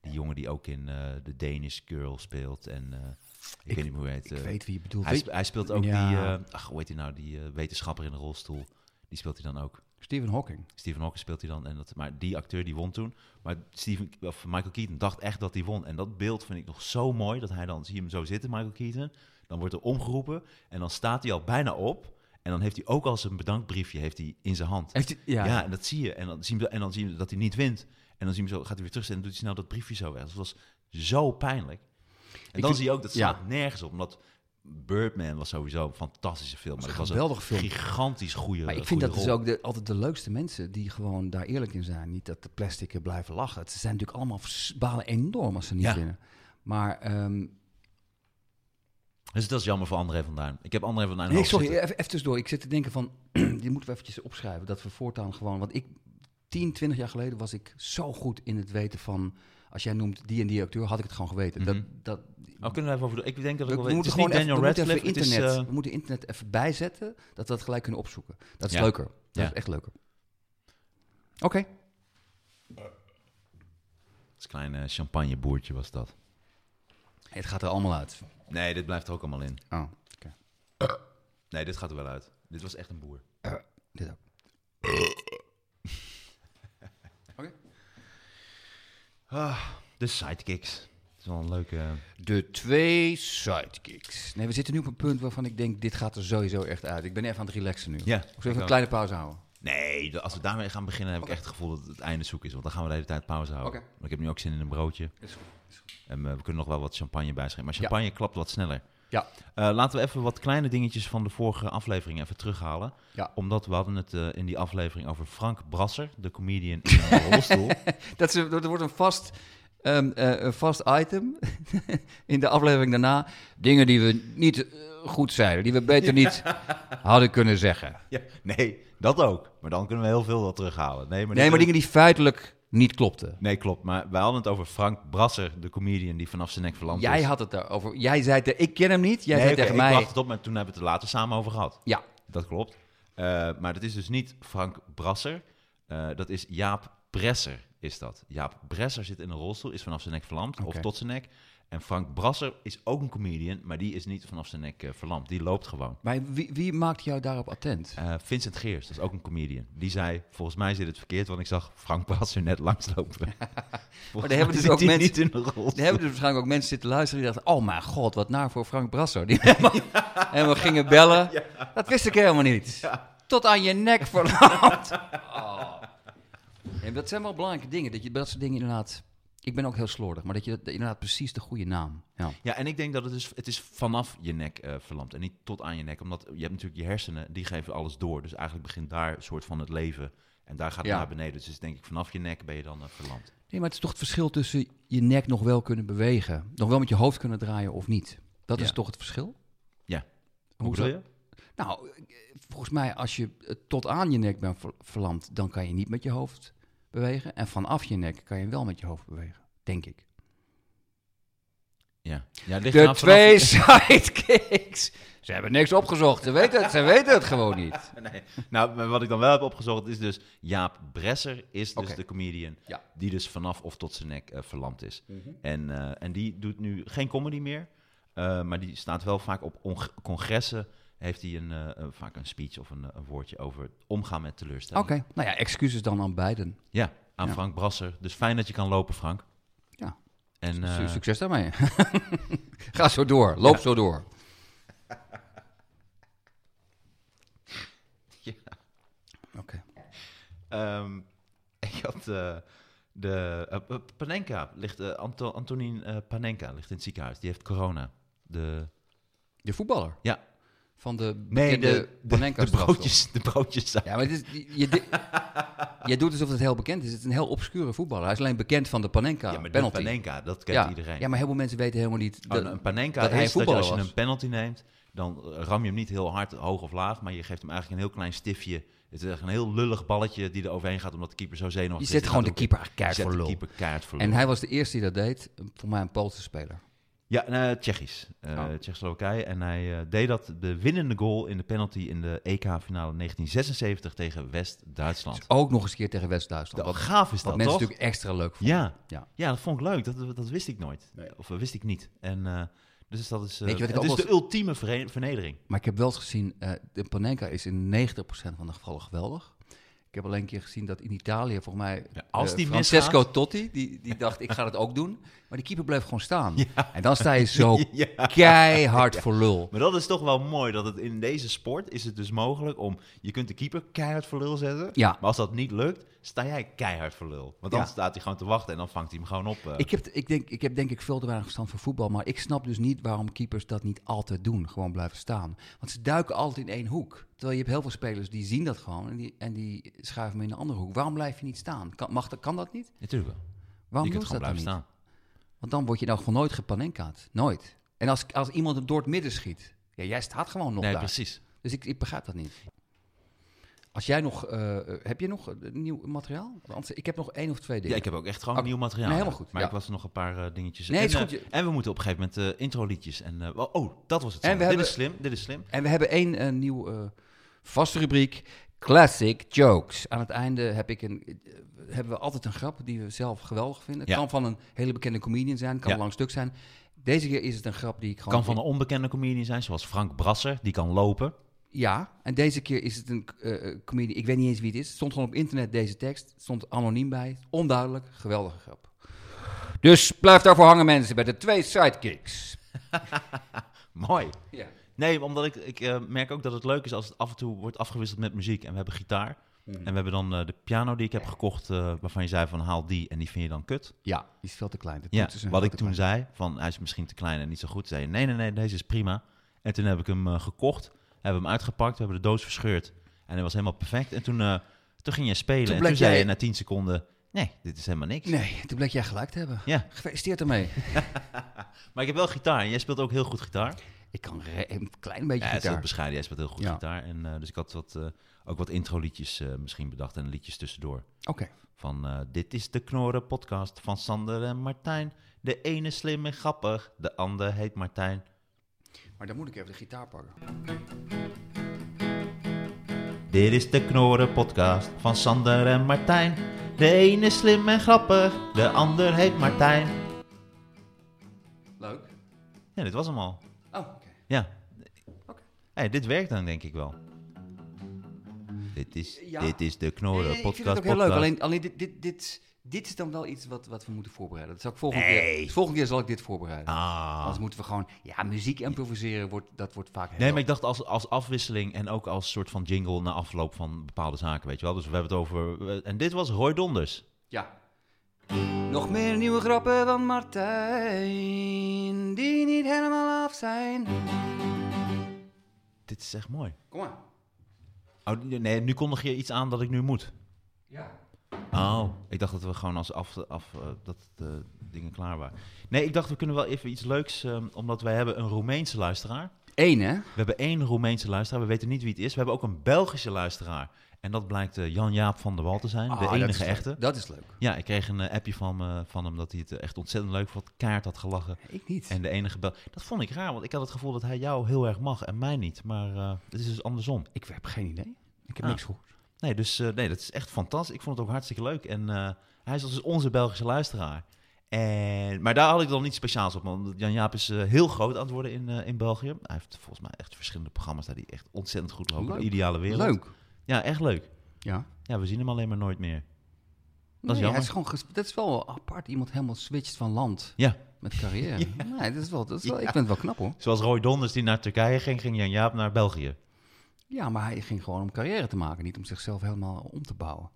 die jongen die ook in eh The Danish Girl speelt. En eh, ik,
Ik-
weet niet meer hoe hij heet.
ik
eh,
weet wie je bedoelt.
hij, sp- hij speelt ook
Ja.
die, eh, ach, hoe heet hij nou, die eh, wetenschapper in de rolstoel. Die speelt hij dan ook.
Stephen Hawking.
Stephen Hawking speelt hij dan. En dat, maar die acteur die won toen. Maar Stephen, of Michael Keaton dacht echt dat hij won. En dat beeld vind ik nog zo mooi. Dat hij dan, zie je hem zo zitten, Michael Keaton. Dan wordt er omgeroepen. En dan staat hij al bijna op. En dan heeft hij ook al zijn bedankbriefje heeft hij in zijn hand.
Heeft hij- ja.
Ja. en dat zie je. En dan zien we, en dan zien we dat hij niet wint. En dan zien we zo, gaat hij weer terugzetten en doet hij snel dat briefje zo weg. Dus dat was zo pijnlijk. En dan
vind-
zie je ook, dat
ja.
slaat nergens op. Omdat Birdman was sowieso een fantastische film. Maar
een
het was
geweldige
een
film.
gigantisch goede
Maar ik vind
goede
dat dus
rol.
ook de, altijd de leukste mensen die gewoon daar eerlijk in zijn. Niet dat de plastic er blijven lachen. Het- Ze zijn natuurlijk allemaal vers- balen enorm als ze niet
Ja.
winnen. Maar, ehm,
Dus dat is jammer voor André van Duin. Ik heb André van Duin
nee,
hoog
sorry,
zitten.
even, even tussendoor. Ik zit te denken van, <clears throat> die moeten we eventjes opschrijven. Dat we voortaan gewoon, want ik, 10, 20 jaar geleden was ik zo goed in het weten van, als jij noemt die en die acteur, had ik het gewoon geweten.
Mhm.
Dat, dat,
Oh, kunnen we even over doen? Ik denk dat
eh, We,
ik
we
wel weet. Het is
moeten
niet
gewoon even,
Daniel
we moeten even
Radcliffe. Het is,
internet,
eh,
we moeten internet even bijzetten, dat we dat gelijk kunnen opzoeken. Dat is
Ja.
leuker. Dat
Ja.
is echt leuker. Oké.
het is een klein eh, champagneboertje was dat.
Het gaat er allemaal uit.
Nee, dit blijft er ook allemaal in.
Oh,
Nee, dit gaat er wel uit. Dit was echt een boer.
Eh, dit ook. <laughs> Oké.
Ah, de sidekicks. Het is wel een leuke...
De twee sidekicks. Nee, we zitten nu op een punt waarvan ik denk, dit gaat er sowieso echt uit. Ik ben even aan het relaxen nu.
Ja,
Zullen
ik
we even een
ook.
kleine pauze houden?
Nee, d- als we daarmee gaan beginnen, heb ik echt het gevoel dat het einde zoek is. Want dan gaan we de hele tijd pauze houden.
Oké.
Maar ik heb nu ook zin in een broodje.
Is goed.
En eh, we kunnen nog wel wat champagne bijschrijven. Maar champagne klapt wat sneller.
Ja.
Eh, laten we even wat kleine dingetjes van de vorige aflevering even terughalen.
Ja.
Omdat we hadden het eh, in die aflevering over Frank Brasser, de comedian in
<laughs>
een rolstoel.
Dat, is, dat wordt een vast, ehm, eh, een vast item <laughs> in de aflevering daarna. Dingen die we niet eh, goed zeiden, die we beter
<laughs>
niet hadden kunnen zeggen.
Ja, nee, dat ook. Maar dan kunnen we heel veel wel terughalen. Nee, maar,
Nee,
dit-
maar dingen die feitelijk niet klopten.
Nee, klopt. Maar we hadden het over Frank Brasser, de comedian die vanaf zijn nek verlamd is.
Jij had het daarover. Jij zei, te, ik ken hem niet. Jij
dus- nee,
zei
oké,
tegen
ik
mij...
bracht het op, maar toen hebben we het er later samen over gehad.
Ja,
Dat klopt. Eh, maar dat is dus niet Frank Brasser. Eh, dat is Jaap Bresser, is dat. Jaap Bresser zit in een rolstoel, is vanaf zijn nek verlamd,
Oké.
of tot zijn nek. En Frank Brasser is ook een comedian, maar die is niet vanaf zijn nek eh, verlamd. Die loopt gewoon.
maar wie, wie maakt jou daarop attent?
Eh, Vincent Geers, dat is ook een comedian. Die zei, volgens mij zit het verkeerd, want ik zag Frank Brasser net
<laughs>
langslopen. maar
hebben dus ook mensen-
niet in een rolstoel.
Er hebben dus waarschijnlijk ook mensen zitten luisteren die dachten... Oh mijn god, wat naar voor Frank Brasso. Die <laughs> helemaal- en we gingen bellen. Dat wist ik helemaal niet. Tot aan je nek verlamd. Oh. En dat zijn wel belangrijke dingen. Dat je dat soort dingen inderdaad... Ik ben ook heel slordig, maar dat je dat, inderdaad precies de goede naam... Ja.
Ja, en ik denk dat het is, het is vanaf je nek eh verlamd en niet tot aan je nek. Omdat je hebt natuurlijk je hersenen, die geven alles door. Dus eigenlijk begint daar een soort van het leven en daar gaat het
Ja.
naar beneden. Dus het is denk ik vanaf je nek ben je dan eh, verlamd.
Nee, maar het is toch het verschil tussen je nek nog wel kunnen bewegen, nog wel met je hoofd kunnen draaien of niet. Dat is
Ja.
toch het verschil?
Ja.
Hoe
bedoel
zou- Nou, eh, volgens mij als je eh, tot aan je nek bent ver- verlamd, dan kan je niet met je hoofd bewegen. En vanaf je nek kan je wel met je hoofd bewegen, denk ik.
Ja. ja het ligt
De
eraan vanaf-
twee <laughs> sidekicks. Ze hebben niks opgezocht. Ze weten het, ze weten het gewoon niet.
<laughs> Nee. Nou, maar wat ik dan wel heb opgezocht is dus Jaap Bresser is dus
Oké.
de comedian
Ja. Mhm.
die dus vanaf of tot zijn nek eh, verlamd is. En, eh, en die doet nu geen comedy meer, eh, maar die staat wel vaak op onge- congressen. Heeft hij een, eh, een- vaak een speech of een, eh, een woordje over omgaan met
<laughs> Oké,
teleurstelling.
nou ja, excuses dan aan beiden.
Ja, aan
Ja.
Frank Brasser. Dus fijn dat je kan lopen, Frank.
Ja.
En,
Su-
eh,
Succes daarmee. <laughs> Ga zo door, loop
Ja.
zo door.
Ja.
Oké.
ehm, <laughs> ik had eh, de eh, eh, Panenka ligt eh, Anto- Antonin eh, Panenka ligt in het ziekenhuis. Die heeft corona. De
De voetballer.
Ja.
Van de
Nee,
bekende
de, de, de,
Panenka's
broodjes. De broodjes zijn-
Ja, maar het is,
<laughs>
je, di- je doet alsof het heel bekend is. Het is een heel obscure voetballer. Hij is alleen bekend van de Panenka
Ja, maar de
penalty.
Panenka, dat kent
ja.
iedereen.
ja, maar heel veel mensen weten helemaal niet...
Oh,
dat-
een Panenka
dat hij een
is dat je, als je
voetballer was.
een penalty neemt, dan eh, ram je hem niet heel hard, hoog of laag, maar je geeft hem eigenlijk een heel klein stiftje. Het is echt een heel lullig balletje die er overheen gaat, omdat de keeper zo
je
zenuwachtig is.
zet gewoon de
Die
keeper
gaat
keihard
ook-
voor
Je
lul.
zet de keeper kaart voor lul.
En hij was de eerste die dat deed. Voor mij een Poolse speler.
Ja, nou, Tsjechisch. Eh
Oh.
Tsjechoslowakije. En hij eh, deed dat, de winnende goal in de penalty in de E EK-finale 1976 tegen West-Duitsland.
Dus ook nog eens een keer tegen West-Duitsland.
Wat
Wat,
gaaf is
wat
dat,
mensen
toch?
natuurlijk extra leuk vonden.
Ja.
Ja.
Ja. dat vond ik leuk. Dat, dat wist ik nooit.
Nee.
Of eh, wist ik niet. En eh, dus dat is, eh,
Weet je wat ik
het
ook
is
wel
de ultieme vere- vernedering.
Maar ik heb wel eens gezien, eh, de Panenka is in 90% van de gevallen geweldig. Ik heb alleen een keer gezien dat in Italië, volgens mij,
Ja, als
eh,
die
Francesco
misgaat-
Totti, die, die dacht, ik ga dat ook doen. Maar die keeper bleef gewoon staan. En dan sta je zo
<laughs> Ja.
keihard voor lul.
Maar dat is toch wel mooi, dat het in deze sport is het dus mogelijk om... Je kunt de keeper keihard voor lul zetten.
Ja.
Maar als dat niet lukt, sta jij keihard voor lul. Want dan
Ja.
staat hij gewoon te wachten en dan vangt hij hem gewoon op. eh.
Ik heb, ik, denk, ik heb denk ik veel te weinig verstand voor voetbal, maar ik snap dus niet waarom keepers dat niet altijd doen. Gewoon blijven staan. Want ze duiken altijd in één hoek. Terwijl je hebt heel veel spelers die zien dat gewoon en die, en die schuiven hem in een andere hoek. Waarom blijf je niet staan? Kan, mag, dat- kan dat niet?
Natuurlijk wel.
Waarom
je kunt
doen
gewoon
ze dat dan
blijven
niet?
staan.
Want dan word je nou gewoon nooit gepanenkaat. Nooit. En als, als iemand hem door het midden schiet, ja, jij staat gewoon nog
Nee,
daar.
precies.
Dus ik, ik begrijp dat niet. Als jij nog, eh, heb je nog eh, nieuw materiaal? Want anders- ik heb nog één of twee
Ja,
dingen.
ik heb ook echt gewoon
Oké.
nieuw materiaal.
Nee, helemaal
ja.
goed,
Maar
ja.
ik was nog een paar eh, dingetjes.
Nee,
en,
het is
eh,
goed, je-
en we moeten op een gegeven moment eh, introliedjes. En, eh, wel- oh, dat was het.
En
zo.
we
dit
hebben-
is slim, dit is slim.
En we hebben één eh, nieuw eh, vaste rubriek, Classic Jokes. Aan het einde heb ik een, eh, hebben we altijd een grap die we zelf geweldig vinden. Het
Ja.
kan van een hele bekende comedian zijn, kan
Ja.
een lang stuk zijn. Deze keer is het een grap die ik gewoon...
Kan van een onbekende comedian zijn, zoals Frank Brasser. Die kan lopen.
Ja, en deze keer is het een eh eh, comedian, ik weet niet eens wie het is. Het stond gewoon op internet deze tekst, Het stond anoniem bij. Onduidelijk, geweldige grap. Dus blijf daarvoor hangen mensen, bij de twee sidekicks.
Mooi.
Ja.
Nee, omdat ik, ik eh, merk ook dat het leuk is als het af en toe wordt afgewisseld met muziek. En we hebben gitaar. En we hebben dan eh, de piano die ik heb gekocht, eh, waarvan je zei van haal die en die vind je dan kut.
ja, die is veel te klein. dus De
Ja,
toetsen zijn
wat
veel
ik
te
toen zei, van hij is misschien te klein en niet zo goed. Zei je, nee, nee, nee, deze is prima. En toen heb ik hem eh, gekocht, hebben hem uitgepakt, we hebben de doos verscheurd. En hij was helemaal perfect. En toen, eh, toen ging jij spelen
Toen
en
bleek
toen zei
jij-
je na 10 seconden, nee, dit is helemaal niks.
klein. Nee, toen bleek jij gelijk te hebben.
Ja,
Gefeliciteerd ermee.
maar ik heb wel gitaar en jij speelt ook heel goed gitaar.
Ik kan re- een klein beetje
Ja, hij is heel
gitaar.
bescheiden, hij speelt heel goed
Ja.
gitaar. En, eh, dus ik had wat, eh, ook wat introliedjes eh, misschien bedacht en liedjes tussendoor.
Oké.
Van eh, dit is de Knorren podcast van Sander en Martijn. De ene slim en grappig, de ander heet Martijn.
Maar dan moet ik even de gitaar pakken.
Dit is de Knorren podcast van Sander en Martijn. De ene slim en grappig, de ander heet Martijn.
Leuk.
Ja, dit was hem al.
Oh, oké.
Ja.
Oké.
Hey, dit werkt dan denk ik wel. Dit is,
Ja.
dit is de Knorren
Nee, ik
podcast.
vind het ook heel leuk.
podcast.
Alleen, alleen dit, dit, dit, dit is dan wel iets wat, wat we moeten voorbereiden. Dat zal ik volgende,
Nee.
keer, dus volgende keer zal ik dit voorbereiden.
Ah.
Anders moeten we gewoon... Ja, muziek improviseren, wordt, dat wordt vaak heel...
Nee, maar ik dacht als, als afwisseling en ook als soort van jingle na afloop van bepaalde zaken, weet je wel. Dus we hebben het over... eh, En dit was Roy Donders.
Ja. Nog meer nieuwe grappen van Martijn, die niet helemaal af zijn.
Dit is echt mooi.
Kom maar.
Oh, nee, nu kondig je iets aan dat ik nu moet.
Ja.
Oh, ik dacht dat we gewoon als af, af eh, dat de dingen klaar waren. Nee, ik dacht we kunnen wel even iets leuks, ehm, omdat wij hebben een Roemeense luisteraar.
Eén, hè?
We hebben één Roemeense luisteraar, we weten niet wie het is. We hebben ook een Belgische luisteraar. En dat blijkt eh, Jan-Jaap van der Wal te zijn,
Ah,
de
dat is
enige
leuk.
echte.
Dat is leuk.
Ja, ik kreeg een eh, appje van, me- van hem dat hij het eh, echt ontzettend leuk vond. Kaart had gelachen.
Ik niet.
En de enige bel. Dat vond ik raar, want ik had het gevoel dat hij jou heel erg mag en mij niet. Maar eh, het is dus andersom.
Ik heb geen idee. Ik heb
Ah.
niks gehoord.
Nee, dus eh, nee, dat is echt fantastisch. Ik vond het ook hartstikke leuk. En eh, hij is dus onze Belgische luisteraar. En, maar daar had ik dan niet speciaals op. Want Jan-Jaap is eh, heel groot aan het worden in, eh, in België. Hij heeft volgens mij echt verschillende programma's daar die echt ontzettend goed lopen.
Leuk.
De ideale wereld.
Leuk.
Ja, echt leuk.
Ja.
Ja, we zien hem alleen maar nooit meer.
Dat
Dat is
is, nee, hij
jammer.
is gewoon ges- dat is wel apart. Iemand helemaal switcht van land
Ja,
met
<laughs>
carrière. Nee, dat is wel, dat is wel,
Ja.
Ik vind het wel knap hoor.
zoals Roy Donders die naar Turkije ging, ging Jan-Jaap naar België.
Ja, maar hij ging gewoon om carrière te maken. Niet om zichzelf helemaal om te bouwen.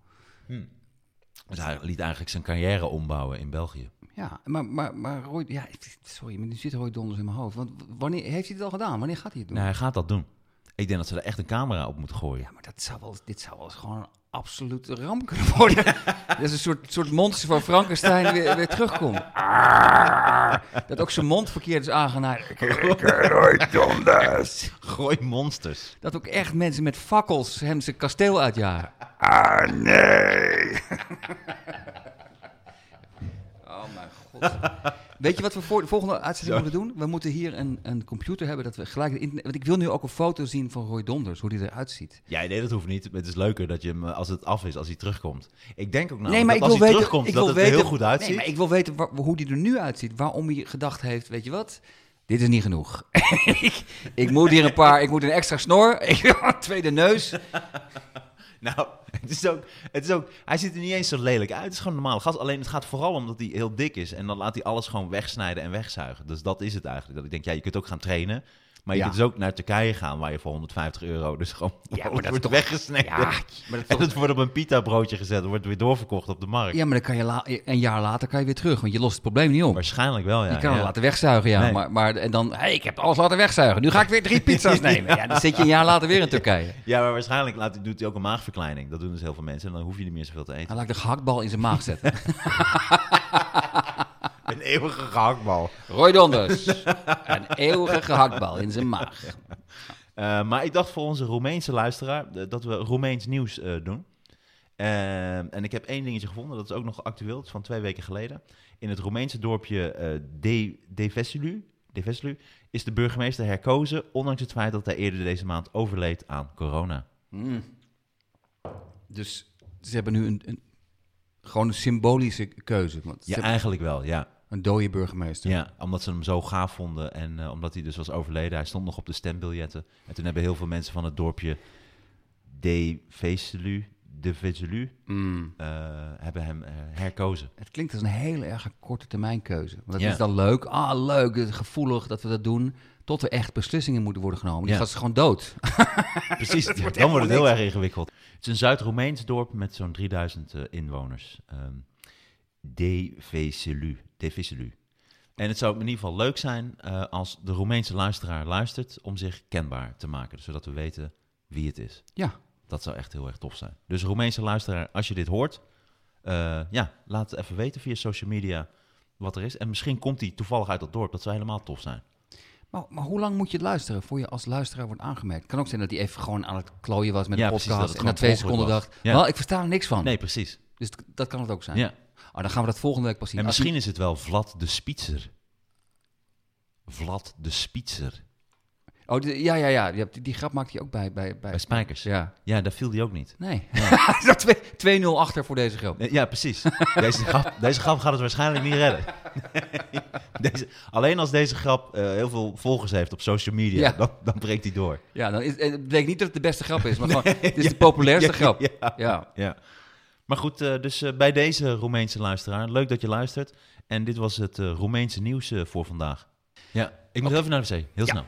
Dus hij liet eigenlijk zijn carrière ombouwen in België.
Ja, maar, maar, maar Roy, ja, sorry, maar nu zit Roy Donders in mijn hoofd. Want wanneer heeft hij het al gedaan? Wanneer gaat hij het doen?
Nee, hij gaat dat doen. Ik denk dat ze er echt een camera op moeten gooien.
Ja, maar dat zou wel, dit zou wel eens gewoon een absolute ramp kunnen <laughs> worden. dat is een soort, soort monster van Frankenstein weer, weer terugkomt.
Ah.
Arrrr. dat ook zijn mond verkeerd is aangenaaid. Roy Donders.
Gooi monsters.
Dat ook echt mensen met fakkels hem zijn kasteel uitjagen.
Ah, nee.
<laughs> Oh mijn god. Weet je wat we voor de volgende uitzending moeten doen? We moeten hier een, een computer hebben dat we gelijk de internet... Want ik wil nu ook een foto zien van Roy Donders, hoe die eruit ziet.
Ja, nee, dat hoeft niet. Het is leuker dat je hem, eh, als het af is, als hij terugkomt. Ik denk ook nou,
nee, maar
dat
ik
als
wil
hij
weten,
terugkomt,
ik
dat
wil
het er
weten,
heel goed uitziet.
Nee, maar ik wil weten wa- hoe die er nu uitziet. Waarom hij gedacht heeft, weet je wat? Dit is niet genoeg. <laughs> ik, ik moet hier een paar, ik moet een extra snor, <laughs> ik wil een tweede neus.
<laughs> Nou, het is, ook, het is ook... Hij ziet er niet eens zo lelijk uit. Het is gewoon een normale gast. Alleen het gaat vooral om dat hij heel dik is. En dan laat hij alles gewoon wegsnijden en wegzuigen. Dus dat is het eigenlijk. Dat ik denk, ja, je kunt ook gaan trainen. Maar je
Ja.
kunt dus ook naar Turkije gaan, waar je voor 150 euro dus <laughs> gewoon
Ja, maar
alles
dat is
wordt
toch-
weggesneden.
Ja, maar dat
<laughs> en
is toch-
het wordt op een pita broodje gezet en wordt weer doorverkocht op de markt.
ja, maar dan kan je la- een jaar later kan je weer terug, want je lost het probleem niet op.
Waarschijnlijk wel, ja.
je kan het
ja.
laten wegzuigen, ja.
Nee.
Maar, maar en dan, hey, ik heb alles laten wegzuigen. Nu ga ik weer drie
<laughs>
pizza's nemen. Ja, dan zit je een jaar later weer in Turkije.
Ja, maar waarschijnlijk laat, doet hij ook een maagverkleining. Dat doen dus heel veel mensen. En dan hoef je niet meer zoveel te eten.
Hij laat de gehaktbal in zijn maag zetten.
<laughs> Een eeuwige gehaktbal. <laughs>
Roy Donders. Een eeuwige gehaktbal in zijn maag.
Eh, maar ik dacht voor onze Roemeense luisteraar eh, dat we Roemeens nieuws eh, doen. Eh, en ik heb één dingetje gevonden, dat is ook nog actueel, het is van twee weken geleden. In het Roemeense dorpje eh De, Deveselu, Deveselu is de burgemeester herkozen, ondanks het feit dat hij eerder deze maand overleed aan corona.
Hmm. Dus ze hebben nu een, een, gewoon een symbolische keuze. Want ze
Ja,
hebben
eigenlijk wel, ja.
een dode burgemeester.
ja. Omdat ze hem zo gaaf vonden en eh, omdat hij dus was overleden. Hij stond nog op de stembiljetten. En toen hebben heel veel mensen van het dorpje Deveselu, Deveselu
Mm.
eh, hebben hem eh, herkozen.
Het klinkt als een hele erg korte termijn keuze. Want dat
Ja.
is dan leuk. Ah, leuk, het is gevoelig dat we dat doen. Tot er echt beslissingen moeten worden genomen. Die
Ja.
gast is gewoon dood.
Precies, ja, dan wordt <laughs> het heel erg ingewikkeld. Het is een Zuid-Roemeens dorp met zo'n 3000 eh, inwoners. Ehm Deveselu. Deveselu. En het zou in ieder geval leuk zijn eh, als de Roemeense luisteraar luistert om zich kenbaar te maken, zodat we weten wie het is.
Ja.
Dat zou echt heel erg tof zijn. Dus Roemeense luisteraar, als je dit hoort, eh, ja, laat het even weten via social media wat er is. En misschien komt hij toevallig uit dat dorp. Dat zou helemaal tof zijn.
Maar, maar hoe lang moet je luisteren voor je als luisteraar wordt aangemerkt? Het kan ook zijn dat hij even gewoon aan het klooien was met
Ja,
een
precies,
podcast.
dat het
en na twee
gewoon
seconden
per ongeluk
dacht,
was. Ja.
wel, ik versta er niks van.
Nee, precies.
Dus het- dat kan het ook zijn.
Oh. Ja.
Ah, dan gaan we dat volgende week pas zien.
En
Als-
misschien is het wel Vlad de Spitser. Vlad de Spitser.
Oh, die- ja, ja, ja. Je hebt- Die, die grap maakt hij ook bij... bij, bij
Bij Spijkers. Ja,
ja.
daar viel die ook niet.
Nee. <laughs> Hij staat 2-0 achter voor deze grap.
Nee, Ja, precies. <laughs> Deze grap, deze grap gaat het waarschijnlijk niet redden. <laughs> Deze, alleen als deze grap eh, heel veel volgers heeft op social media,
Ja.
dan, dan breekt hij door.
Ja, dan is, en het bleek niet dat het de beste
<laughs>
grap is, maar gewoon, dit is de populairste
Ja,
grap. Ja.
ja. Ja. Maar goed, eh, dus eh, bij deze Roemeense luisteraar, leuk dat je luistert. En dit was het eh, Roemeense nieuws eh, voor vandaag. Ja, ik moet even naar de wc, heel snel.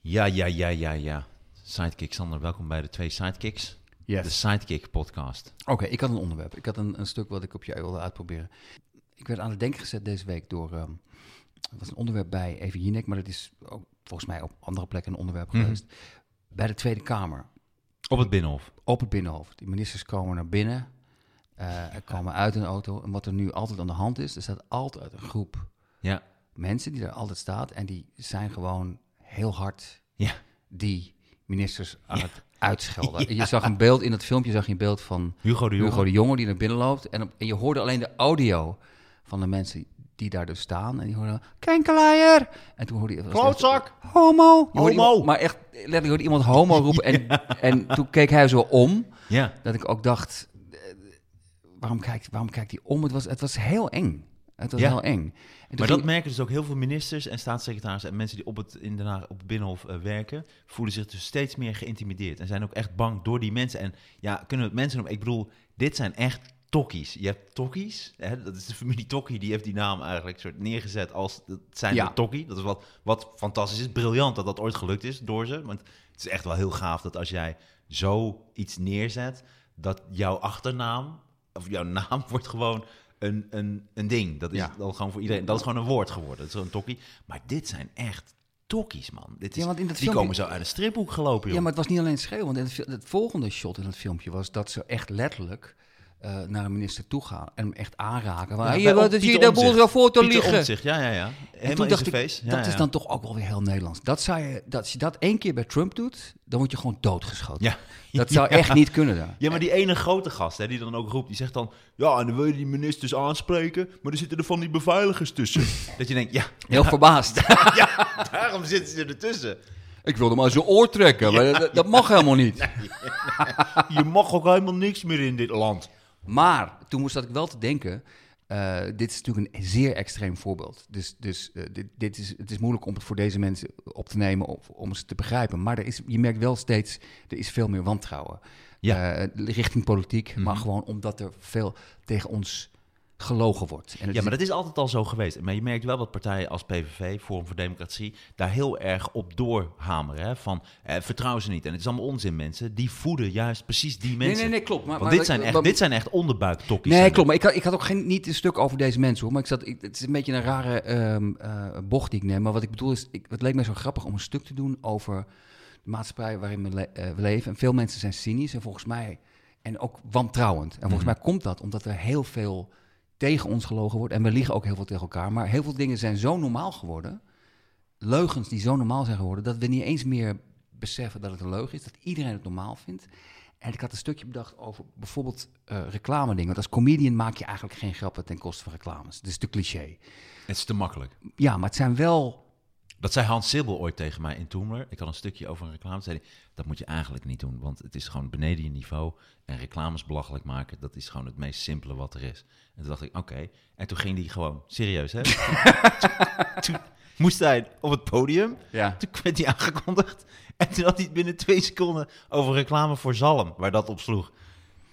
Ja, ja, ja, ja, ja. Sidekick Sander, welkom bij de twee Sidekicks.
Yes.
De Sidekick podcast.
Oké, ik had een onderwerp. Ik had een, een stuk wat ik op je wilde uitproberen. Ik werd aan het denken gezet deze week door... ehm, er was een onderwerp bij Even Jinek, maar dat is ook volgens mij op andere plekken een onderwerp geweest. Bij de Tweede Kamer,
Op het Binnenhof.
op het Binnenhof. Die ministers komen naar binnen, eh, er komen uit een auto. En wat er nu altijd aan de hand is, er staat altijd een groep
Ja,
mensen die daar altijd staat. En die zijn gewoon heel hard
ja.
die ministers aan het uitschelden. En Je zag een beeld in dat filmpje, zag je een beeld van
Hugo de Jonge.
Hugo de Jonge die naar binnen loopt. En, op- en je hoorde alleen de audio van de mensen die daar dus staan. En die hoorden kenkelaaier. En toen hoorde je...
Klootzak!
Homo! Je hoorde
Homo!
iemand- maar echt, letterlijk hoorde iemand
<laughs>
homo roepen. En, en toen keek hij zo om.
Ja.
Dat ik ook dacht, eh, waarom kijkt, waarom kijkt hij om? Het was, het was heel eng. Het was
Ja.
heel eng. En
Maar
toen ging-
dat merken dus ook heel veel ministers en staatssecretarissen en mensen die op het, in Den Haag op het Binnenhof eh, werken, voelen zich dus steeds meer geïntimideerd en zijn ook echt bang door die mensen. En ja, kunnen we het mensen noemen? Ik bedoel, dit zijn echt Tokkies. Je hebt Tokkies. Hè? Dat is de familie Tokkie. Die heeft die naam eigenlijk soort neergezet als het zijn
Ja.
de Tokkie. Dat is wat, wat fantastisch is. Briljant dat dat ooit gelukt is door ze. Want het is echt wel heel gaaf dat als jij zo iets neerzet... dat jouw achternaam of jouw <laughs> naam wordt gewoon een, een, een ding. Dat is
Ja.
dan gewoon voor iedereen. Dat is gewoon een woord geworden. Dat is een Tokkie. Maar dit zijn echt... Tokkies, man. Dit is,
Ja, want in dat
die
filmpje-
komen zo uit een stripboek gelopen, joh.
Ja, maar het was niet alleen schreeuwen. Want in het, fil- het volgende shot in het filmpje was dat ze echt letterlijk eh, naar de minister toe gaan en hem echt aanraken. Van,
Ja,
"Hey,
bij
wat
Om-
is
Pieter
hier de boel
Omtzigt.
zo voor te
Pieter
liggen?
Omtzigt, ja, ja, ja.
En
Helemaal in zijn
dacht ik,
feest. Ja,
dat
ja.
is dan toch ook wel weer heel Nederlands. Dat zou je, dat als je dat één keer bij Trump doet, dan word je gewoon doodgeschoten.
Ja.
<laughs> Dat zou
Ja.
echt niet kunnen daar.
Ja, maar die ene grote gast hè, die dan ook roept, die zegt dan... Ja, en dan wil je die ministers aanspreken, maar er zitten er van die beveiligers tussen. <laughs> dat je denkt, ja,
Heel verbaasd.
ja, daarom zitten ze ertussen.
ik wilde maar zijn oor trekken, maar dat, dat mag helemaal niet.
Je mag ook helemaal niks meer in dit land.
<laughs> Maar toen moest dat ik wel te denken. eh, dit is natuurlijk een zeer extreem voorbeeld. Dus, dus eh, dit, dit is, het is moeilijk om het voor deze mensen op te nemen, of om ze te begrijpen. Maar er is, je merkt wel steeds, er is veel meer wantrouwen.
Ja.
Eh, richting politiek, maar gewoon omdat er veel tegen ons gelogen wordt. En het
Ja,
is-
maar dat is altijd al zo geweest. Maar je merkt wel dat partijen als PVV, Forum voor Democratie, daar heel erg op doorhameren. Hè? Van eh, vertrouw ze niet. En het is allemaal onzin, mensen. Die voeden juist precies die mensen.
nee, nee, klopt. Maar-
Want
maar
dit,
dat-
zijn echt,
maar-
dit zijn echt onderbuiktokjes.
Nee, klopt. Maar ik had, ik had ook geen, niet een stuk over deze mensen hoor. Maar ik zat, ik- het is een beetje een rare ehm, eh, bocht die ik neem. Maar wat ik bedoel is, ik, het leek mij zo grappig om een stuk te doen over de maatschappij waarin we, le- eh, we leven. En veel mensen zijn cynisch en volgens mij, en ook wantrouwend. En volgens
Mhm.
mij komt dat omdat er heel veel tegen ons gelogen wordt. En we liegen ook heel veel tegen elkaar. Maar heel veel dingen zijn zo normaal geworden. Leugens die zo normaal zijn geworden, dat we niet eens meer beseffen dat het een leugen is. Dat iedereen het normaal vindt. En ik had een stukje bedacht over bijvoorbeeld eh reclame dingen. Want als comedian maak je eigenlijk geen grappen ten koste van reclames. Dat is te cliché.
Het is te makkelijk.
Ja, maar het zijn wel...
Dat zei Hans Sibbel ooit tegen mij in Toemler. Ik had een stukje over een reclame. Toen zei hij, dat moet je eigenlijk niet doen, want het is gewoon beneden je niveau. En reclames belachelijk maken, dat is gewoon het meest simpele wat er is. En toen dacht ik, oké. En toen ging hij gewoon, serieus
<laughs>
hè? Toen- toen moest hij op het podium.
Ja.
Toen werd hij aangekondigd. En toen had hij het binnen twee seconden over reclame voor zalm, waar dat op sloeg.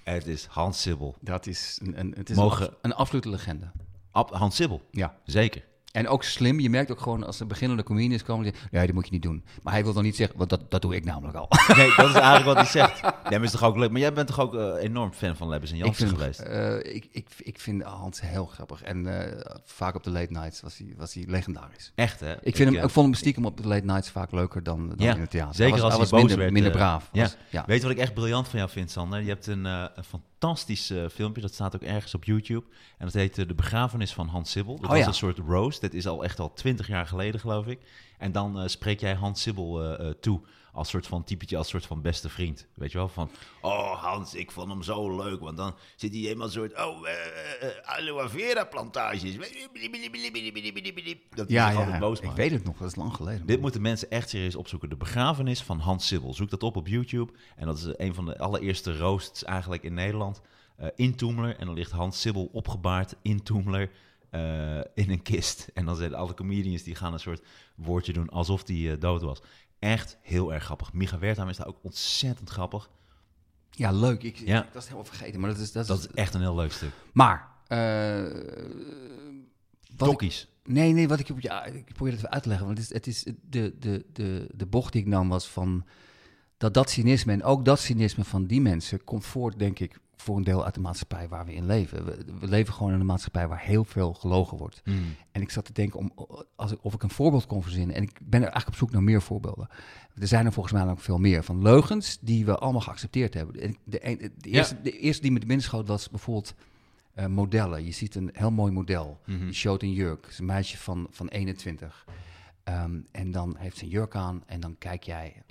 Het is Hans Sibbel.
Dat is een, een, het is
Mogen-
een, abs- een absolute legende.
Ab- Hans Sibbel,
Ja.
zeker.
En ook slim. Je merkt ook gewoon als er beginnende comedians komen... Die zeggen, nee, dat moet je niet doen. Maar hij wil dan niet zeggen, want dat, dat doe ik namelijk al. <laughs>
<laughs> Nee, dat is eigenlijk wat hij zegt. Nee, maar is toch ook leuk. Maar jij bent toch ook eh, enorm fan van Lebbes en Jansen
vind,
geweest?
eh, ik, ik, ik vind Hans heel grappig. En eh, vaak op de late nights was hij, was hij legendarisch.
Echt, hè?
Ik, vind hem,
eh,
ik vond hem stiekem op de late nights vaak leuker dan, dan
ja,
in het theater.
Zeker
was,
als hij
was
boos
minder,
werd.
minder
eh,
braaf.
ja.
Was- ja.
Weet je wat ik echt briljant van jou vind, Sander? Je hebt een, eh, een fantastisch eh, filmpje, dat staat ook ergens op YouTube. En dat heet eh, De Begrafenis van Hans Sibbel. Dat
Oh,
was
ja.
een soort roast. Dat is al echt al twintig jaar geleden, geloof ik. En dan eh, spreek jij Hans Sibbel eh, eh, toe. Als soort van typetje, als soort van beste vriend. Weet je wel? Van, oh Hans, ik vond hem zo leuk. Want dan zit hij helemaal soort, oh, eh, eh, eh, aloe vera plantages. Dat
Ja,
hij zich
ja,
altijd boos
ik
maakt.
weet het nog, dat is lang geleden.
Dit
man.
moeten mensen echt serieus opzoeken. De begrafenis van Hans Sibbel. Zoek dat op op YouTube. En dat is eh, een van de allereerste roosts eigenlijk in Nederland. eh in Toemler. En dan ligt Hans Sibbel opgebaard in Toemler. eh, in een kist. En dan zijn alle comedians die gaan een soort woordje doen alsof die eh, dood was. Echt heel erg grappig. Micha Wertheim is daar ook ontzettend grappig.
Ja, leuk. Ik, ik-
Ja.
dat is helemaal vergeten. Maar, dat is, dat is,
Dat is echt een heel leuk stuk.
maar eh, wat ik-
Tokkies.
nee, nee, wat ik, op- ja, ik probeer het even uit te leggen. Want het is, het is de, de, de, de bocht die ik nam was van dat dat cynisme en ook dat cynisme van die mensen komt voort, denk ik, voor een deel uit de maatschappij waar we in leven. We, we leven gewoon in een maatschappij waar heel veel gelogen wordt. En ik zat te denken om, als ik, of ik een voorbeeld kon verzinnen. En ik ben er eigenlijk op zoek naar meer voorbeelden. Er zijn er volgens mij ook veel meer van leugens die we allemaal geaccepteerd hebben. En De, een- de, eerste, de eerste die me te binnen schoot was bijvoorbeeld eh, modellen. Je ziet een heel mooi model.
Mhm.
Die showt een jurk. Het is een meisje van, van 21. Ehm, en dan heeft ze een jurk aan en dan kijk jij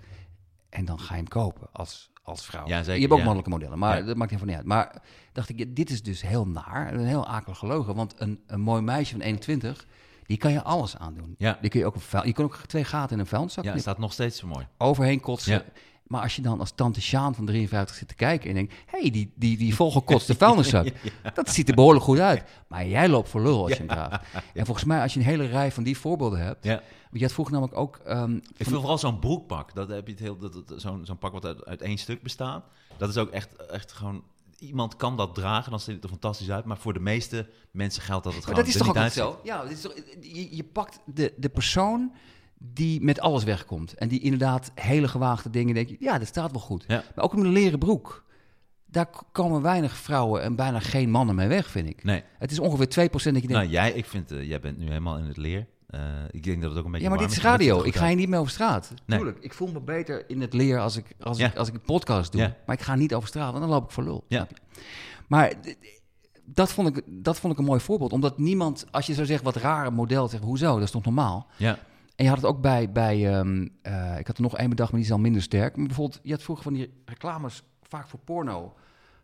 en dan ga je hem kopen als, als vrouw.
Ja, zeker,
je hebt ook
ja.
mannelijke modellen, maar
Ja.
dat maakt helemaal niet uit. Maar dacht ik, ja, dit is dus heel naar, en een heel akelig gelogen. Want een, een mooi meisje van 21, die kan je alles aandoen.
Ja.
Die kun je ook een vuil, je kan ook twee gaten in een vuilniszak
Ja,
knippen.
staat nog steeds zo mooi.
overheen kotsen.
Ja.
Maar als je dan als tante Sjaan van 53 zit te kijken en denkt... hé, hey, die, die, die volgekotste <laughs> vuilniszak, dat ziet er behoorlijk goed uit. Maar jij loopt voor lul als je hem draagt. En volgens mij, als je een hele rij van die voorbeelden hebt...
Ja.
Je had vroeger namelijk ook... ehm,
Ik vind vooral zo'n broekpak. Dat heb je het heel, dat, dat- zo'n, zo'n pak wat uit, uit één stuk bestaat. Dat is ook echt, echt gewoon iemand kan dat dragen, dan ziet het er fantastisch uit. Maar voor de meeste mensen geldt dat het
Maar
gewoon
dat is
er
toch ook
niet
niet
uitziet.
zo? Ja, dat is toch, je, je pakt de, de persoon die met alles wegkomt. En die inderdaad hele gewaagde dingen denkt, ja, dat staat wel goed.
Ja.
Maar ook een leren broek. Daar k- komen weinig vrouwen en bijna geen mannen mee weg, vind ik.
Nee.
Het is ongeveer 2% dat je denkt,
Nou, jij, ik vind, eh, jij bent nu helemaal in het leer. Eh, ik denk dat het ook een beetje
ja, maar dit
warm
is
dat het
radio.
goed
Ik ga
uit-
hier niet meer over straat.
Nee.
Tuurlijk, ik voel me beter in het leer als ik, als
Ja.
ik, als ik een podcast doe.
Ja.
Maar ik ga niet over straat, want dan loop ik voor lul.
Ja.
snap je? Maar d- d- dat vond, ik, dat vond ik een mooi voorbeeld. Omdat niemand, als je zou zeggen wat rare model, zeg, hoezo, dat is toch normaal?
Ja,
En je had het ook bij, bij ehm, eh, ik had er nog één bedacht, maar die is al minder sterk. Maar bijvoorbeeld, je had vroeger van die reclames, vaak voor porno.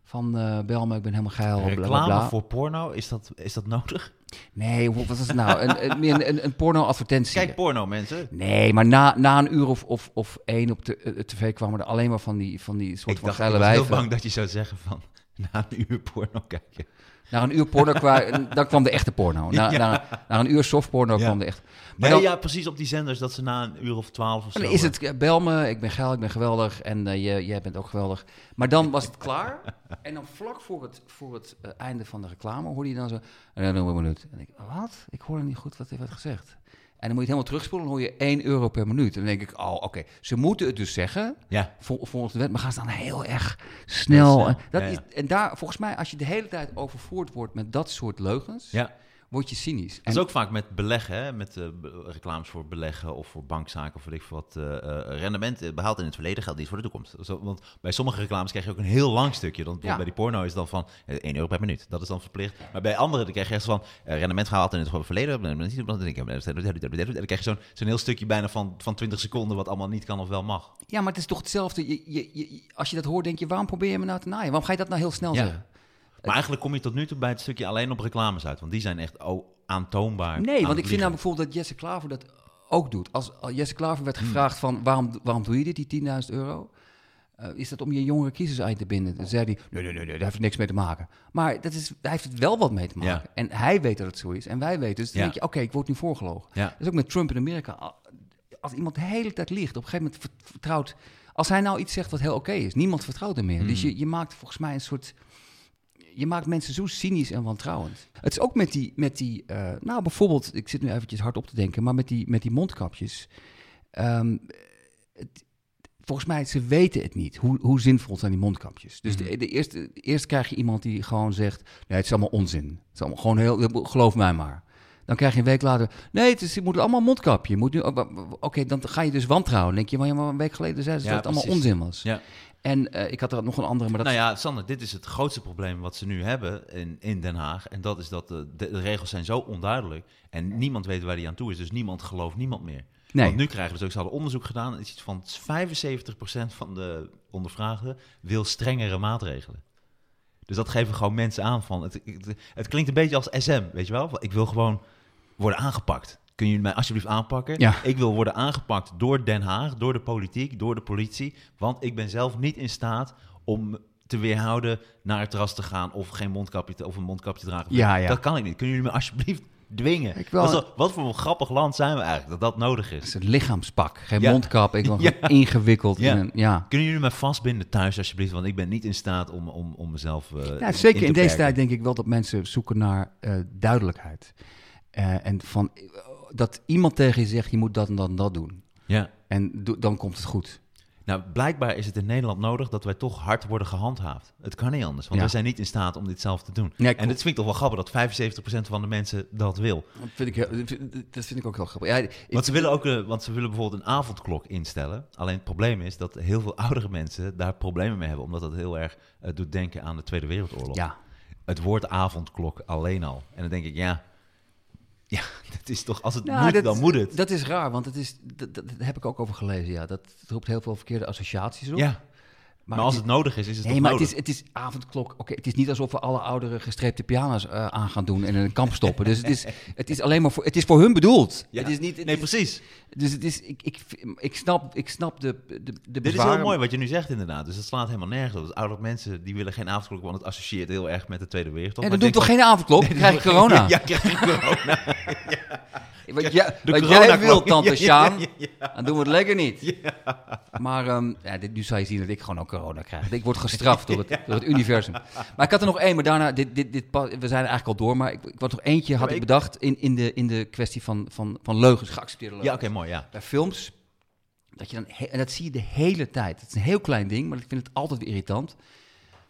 Van eh bel me, ik ben helemaal geil. bla, bla,
reclame
bla.
voor porno, is dat, is dat nodig?
Nee, hoe- wat is het nou? Een, een, meer een, een, een porno-advertentie.
Kijk porno, mensen.
Nee, maar na, na een uur of, of, of één op de eh, tv kwamen er alleen maar van die, van die soort
Ik
van
dacht, ik
geile
was heel
wijven.
bang dat je zou zeggen van, <laughs> na een uur porno kijken.
Na een uur porno
<laughs>
kwa- dan kwam de echte porno. Na, na, na een uur soft porno
Ja.
kwam de echte. Maar
Nee,
dan,
ja, precies op die zenders dat ze na een uur of twaalf of zo...
dan is
eh,
het, eh, bel me, ik ben geil, ik ben geweldig en eh, jij, jij bent ook geweldig. Maar dan was het klaar en dan vlak voor het, voor het eh, einde van de reclame hoorde je dan zo... En dan doen we een minuut. En ik, wat? Ik hoorde niet goed wat er werd gezegd. En dan moet je het helemaal terugspoelen, dan hoor je 1 euro per minuut. En dan denk ik, oh, oké, ze moeten het dus zeggen...
eh, Ja,
vol, volgens de wet, maar gaan ze dan heel erg snel.
Heel snel,
En, dat
ja, ja.
Is, en daar, volgens mij, als je de hele tijd overvoerd wordt met dat soort leugens,
ja.
word je cynisch.
Dat
En,
is ook vaak met beleggen, hè? met eh, be- reclames voor beleggen of voor bankzaken of weet ik veel wat. eh, eh, rendement eh, behaald in het verleden geldt niet voor de toekomst. Zo, want bij sommige reclames krijg je ook een heel lang stukje. Dan,
Ja.
Bij die porno is het dan van eh, 1 euro per minuut. Dat is dan verplicht. Maar bij anderen dan krijg je echt van eh, rendement gehaald in het verleden. Dan denk ik, En dan krijg je zo'n zo'n heel stukje bijna van, van 20 seconden wat allemaal niet kan of wel mag.
ja, maar het is toch hetzelfde. Je, je, je- als je dat hoort, denk je, waarom probeer je me nou te naaien? Waarom ga je dat nou heel snel
Ja.
zeggen?
Maar eigenlijk kom je tot nu toe bij het stukje alleen op reclames uit. Want die zijn echt oh, aantoonbaar. aan
Nee,
het
want ik vind
liegen.
nou bijvoorbeeld dat Jesse Klaver dat ook doet. Als als Jesse Klaver
Hmm.
werd gevraagd van, waarom, waarom doe je dit, die 10.000 euro? Eh, is dat om je jongere kiezers uit te binden? Dan zei hij, nee, nee, nee, nee, daar heeft het niks mee te maken. Maar dat is, hij heeft het wel wat mee te maken.
Ja.
En hij weet dat het zo is. En wij weten. Dus
Ja.
dan denk je, oké, ik word nu voorgelogen.
Ja.
Dat is ook met Trump in Amerika. Al- Als iemand de hele tijd liegt, op een gegeven moment vert- vertrouwt... Als hij nou iets zegt wat heel oké is, niemand vertrouwt hem meer. Dus
Hmm.
je, je maakt volgens mij een soort... Je maakt mensen zo cynisch en wantrouwend. Het is ook met die, met die eh, nou bijvoorbeeld, ik zit nu eventjes hard op te denken, maar met die, met die mondkapjes. Ehm, het- volgens mij, ze weten het niet, hoe, hoe zinvol zijn die mondkapjes. Dus
Mhm.
de, de eerste, eerst krijg je iemand die gewoon zegt, nee, het is allemaal onzin. Het is allemaal gewoon heel, geloof mij maar. Dan krijg je een week later, nee, het, is, je moet allemaal een mondkapje. Je Moet nu, oh, oké, dan ga je dus wantrouwen. Dan denk je, maar, ja, maar een week geleden zeiden ze
Ja,
dat het allemaal
precies.
onzin was.
Ja.
En eh, ik had er nog een andere, maar dat
Nou ja, Sander, dit is het grootste probleem wat ze nu hebben in, in Den Haag. En dat is dat de, de, de regels zijn zo onduidelijk. En niemand weet waar die aan toe is. Dus niemand gelooft niemand meer.
Nee.
Want nu krijgen we dus ook, ze hadden onderzoek gedaan. Het is iets van 75% van de ondervraagden wil strengere maatregelen. Dus dat geven gewoon mensen aan van... Het, het, het klinkt een beetje als SM, weet je wel? Van, Ik wil gewoon worden aangepakt. Kun je mij alsjeblieft aanpakken?
Ja.
Ik wil worden aangepakt door Den Haag, door de politiek, door de politie. Want ik ben zelf niet in staat om te weerhouden naar het terras te gaan of geen mondkapje te, of een mondkapje te dragen.
Ja, Ah ja.
Dat kan ik niet. Kunnen jullie me alsjeblieft dwingen?
Ik wil-
Wat zo- wat voor een grappig land zijn we eigenlijk dat dat nodig
Het
is?
is een lichaamspak, geen
Ja.
mondkap. Ik
<laughs>
ben
Ja.
gewoon ingewikkeld.
Ja.
In een, ja.
Kunnen jullie me vastbinden thuis alsjeblieft? Want ik ben niet in staat om, om, om mezelf. eh,
Ja, zeker
te
in deze
perken.
tijd denk ik wel dat mensen zoeken naar eh, duidelijkheid. Eh, en van, eh, dat iemand tegen je zegt, je moet dat en dat en dat doen.
Ja.
En do- dan komt het goed.
Nou, blijkbaar is het in Nederland nodig dat wij toch hard worden gehandhaafd. Het kan niet anders, want
Ja.
we zijn niet in staat om dit zelf te doen.
Nee,
en
klopt.
het vind ik toch wel grappig dat 75% van de mensen dat wil.
Dat vind ik, dat vind ik ook heel grappig. Ja,
Want ze, willen ook, eh, want ze willen bijvoorbeeld een avondklok instellen. Alleen het probleem is dat heel veel <laughs> oudere mensen daar problemen mee hebben. Omdat dat heel erg eh, doet denken aan de Tweede Wereldoorlog.
ja.
Het woord avondklok alleen al. En dan denk ik, ja, ja <laughs> dat is toch, als het
Nou,
moet,
dat-
dan moet het.
Dat is raar, want het is, dat, dat- dat heb ik ook over gelezen. Ja. Dat het roept heel veel verkeerde associaties op.
ja. Maar, als het nodig is, is het
Nee,
toch
maar het
nodig.
is, het is avondklok. Oké, het is niet alsof we alle ouderen gestreepte piano's eh, aan gaan doen en in een kamp stoppen. Dus het is, het is alleen maar voor, het is voor hun bedoeld.
Ja.
Het is niet, het
nee,
is-
precies.
dus het is, ik, ik, ik snap, ik snap de, de, de
Dit is
bezwaren.
heel mooi wat je nu zegt inderdaad. Dus het slaat helemaal nergens op. Dus oudere mensen die willen geen avondklok, want het associeert heel erg met de Tweede Wereldoorlog.
En
Maar
dan doe ik
ik denk <laughs>
toch geen avondklok?
van-
krijg ik corona.
Ja, krijg ik corona. Ja.
Wat, jij-
de
wat jij
coronaknop.
wilt, tante
<laughs> Ja, ja,
Sjaan, dan doen we het lekker niet. Maar ehm, ja, dit, nu zou je zien dat ik gewoon ook corona krijg. Ik word gestraft door het, door het universum. Maar ik had er nog één, maar daarna, dit, dit, dit, pa- we zijn er eigenlijk al door, maar ik, ik had nog eentje had
maar
ik
ik-
bedacht in, in, de, in de kwestie van, van, van leugens, geaccepteerde leugens
Ja, oké, mooi,
<laughs>
ja.
bij films. Dat je dan he- en dat zie je de hele tijd. Het is een heel klein ding, maar ik vind het altijd weer irritant.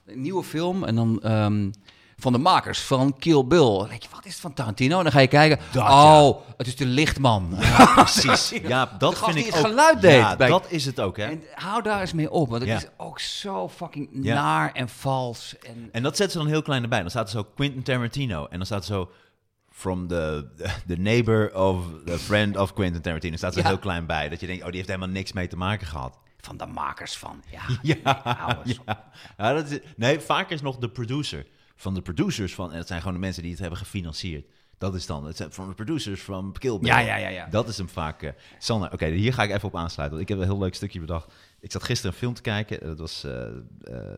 Een nieuwe film en dan ehm, van de makers van Kill Bill. Dan denk je, wat is het van Tarantino? En dan ga je kijken,
Dat, ja.
oh, het is de lichtman.
Precies. Ja, dat
De gast
vind ik
die het
ook-
geluid
Ja,
deed bij-
dat is het ook, hè.
<laughs> En hou daar eens mee op, want het
Ja.
is ook zo fucking
Ja.
naar en vals. En,
En dat zetten ze dan heel klein erbij. Dan staat er zo Quentin Tarantino. En dan staat er zo... From the, the neighbor of the friend of Quentin Tarantino. Dan staat er
Ja.
heel klein bij. Dat je denkt, oh, die heeft helemaal niks mee te maken gehad.
van de makers van, ja.
<laughs> Ja,
ouwe sop.
ja. Ja, dat is, nee, vaak is nog de producer. Van de producers van... En het zijn gewoon de mensen die het hebben gefinancierd. Dat is dan... Het zijn van de producers van Kill Bill.
Ja, ja, ja, ja.
Dat is hem vaak. eh Sander, oké, hier ga ik even op aansluiten. Want ik heb een heel leuk stukje bedacht. Ik zat gisteren een film te kijken. eh, Dat was, eh, eh,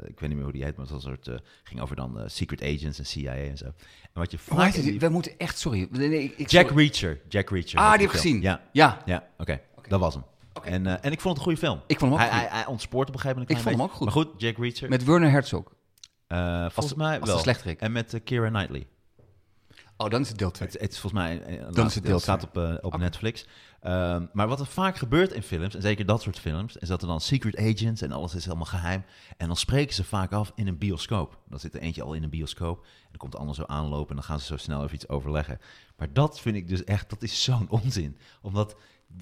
ik weet niet meer hoe die heet, maar het was een soort, eh, ging over dan eh, Secret Agents en CIA en zo. En wat je
Maar
vaak in die-
we moeten echt, sorry. Nee, nee, ik, ik-
Jack
sorry.
Reacher. Jack Reacher.
Ah,
heet
die heb ik
film.
gezien.
Ja,
ja.
ja oké. Dat was hem. En, eh, en ik vond het een goede film.
Ik vond hem ook
hij,
goed.
hij, hij ontspoort op een gegeven moment een
Ik
klein
vond hem
beetje.
ook
Maar goed, Jack Reacher.
Met Werner Herzog.
eh, volgens
de-
mij
als de
wel.
slechterik.
En met eh, Keira Knightley.
Oh, dan is het deel 2.
Het, het is volgens mij een- een,
Dan is
laatste
het
deel.
deel
Het staat op, eh, op Netflix. Ehm, maar wat er vaak gebeurt in films, en zeker dat soort films, is dat er dan secret agents en alles is helemaal geheim. En dan spreken ze vaak af in een bioscoop. Dan zit er eentje al in een bioscoop. En dan komt de ander zo aanlopen en dan gaan ze zo snel even iets overleggen. Maar dat vind ik dus echt, dat is zo'n onzin. Omdat,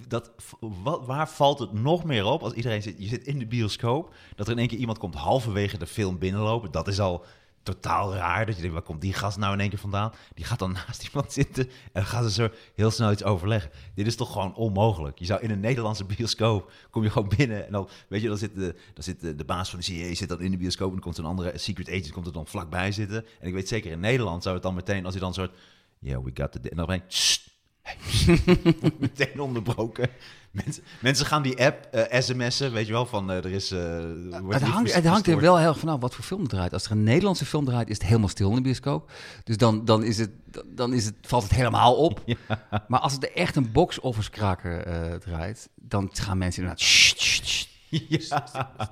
dat, wat, waar valt het nog meer op als iedereen zit, je zit in de bioscoop, dat er in één keer iemand komt halverwege de film binnenlopen. Dat is al totaal raar. Dat je denkt, waar komt die gast nou in één keer vandaan? Die gaat dan <laughs> naast iemand zitten en dan gaan ze zo heel snel iets overleggen. Dit is toch gewoon onmogelijk. Je zou in een Nederlandse bioscoop, kom je gewoon binnen en dan, weet je, dan zit de, dan zit de, de baas van de CIA zit dan in de bioscoop en dan komt een andere secret agent komt er dan vlakbij zitten. En ik weet zeker, in Nederland zou het dan meteen, als hij dan een soort, yeah, we got the, en dan ben ik, "Sst, <laughs> meteen onderbroken. Mensen, mensen gaan die app, eh, sms'en, weet je wel, van eh, er is... eh, wordt
Het
lief
hangt, het
verstoord.
hangt er wel heel erg vanaf wat voor film het draait. Als er een Nederlandse film draait, is het helemaal stil in de bioscoop. Dus dan, dan, is het, dan is het, valt het helemaal
<laughs>
op. Maar als het echt een box-officekraker eh, draait, dan gaan mensen inderdaad... <laughs> Sst, sst, sst.
<laughs>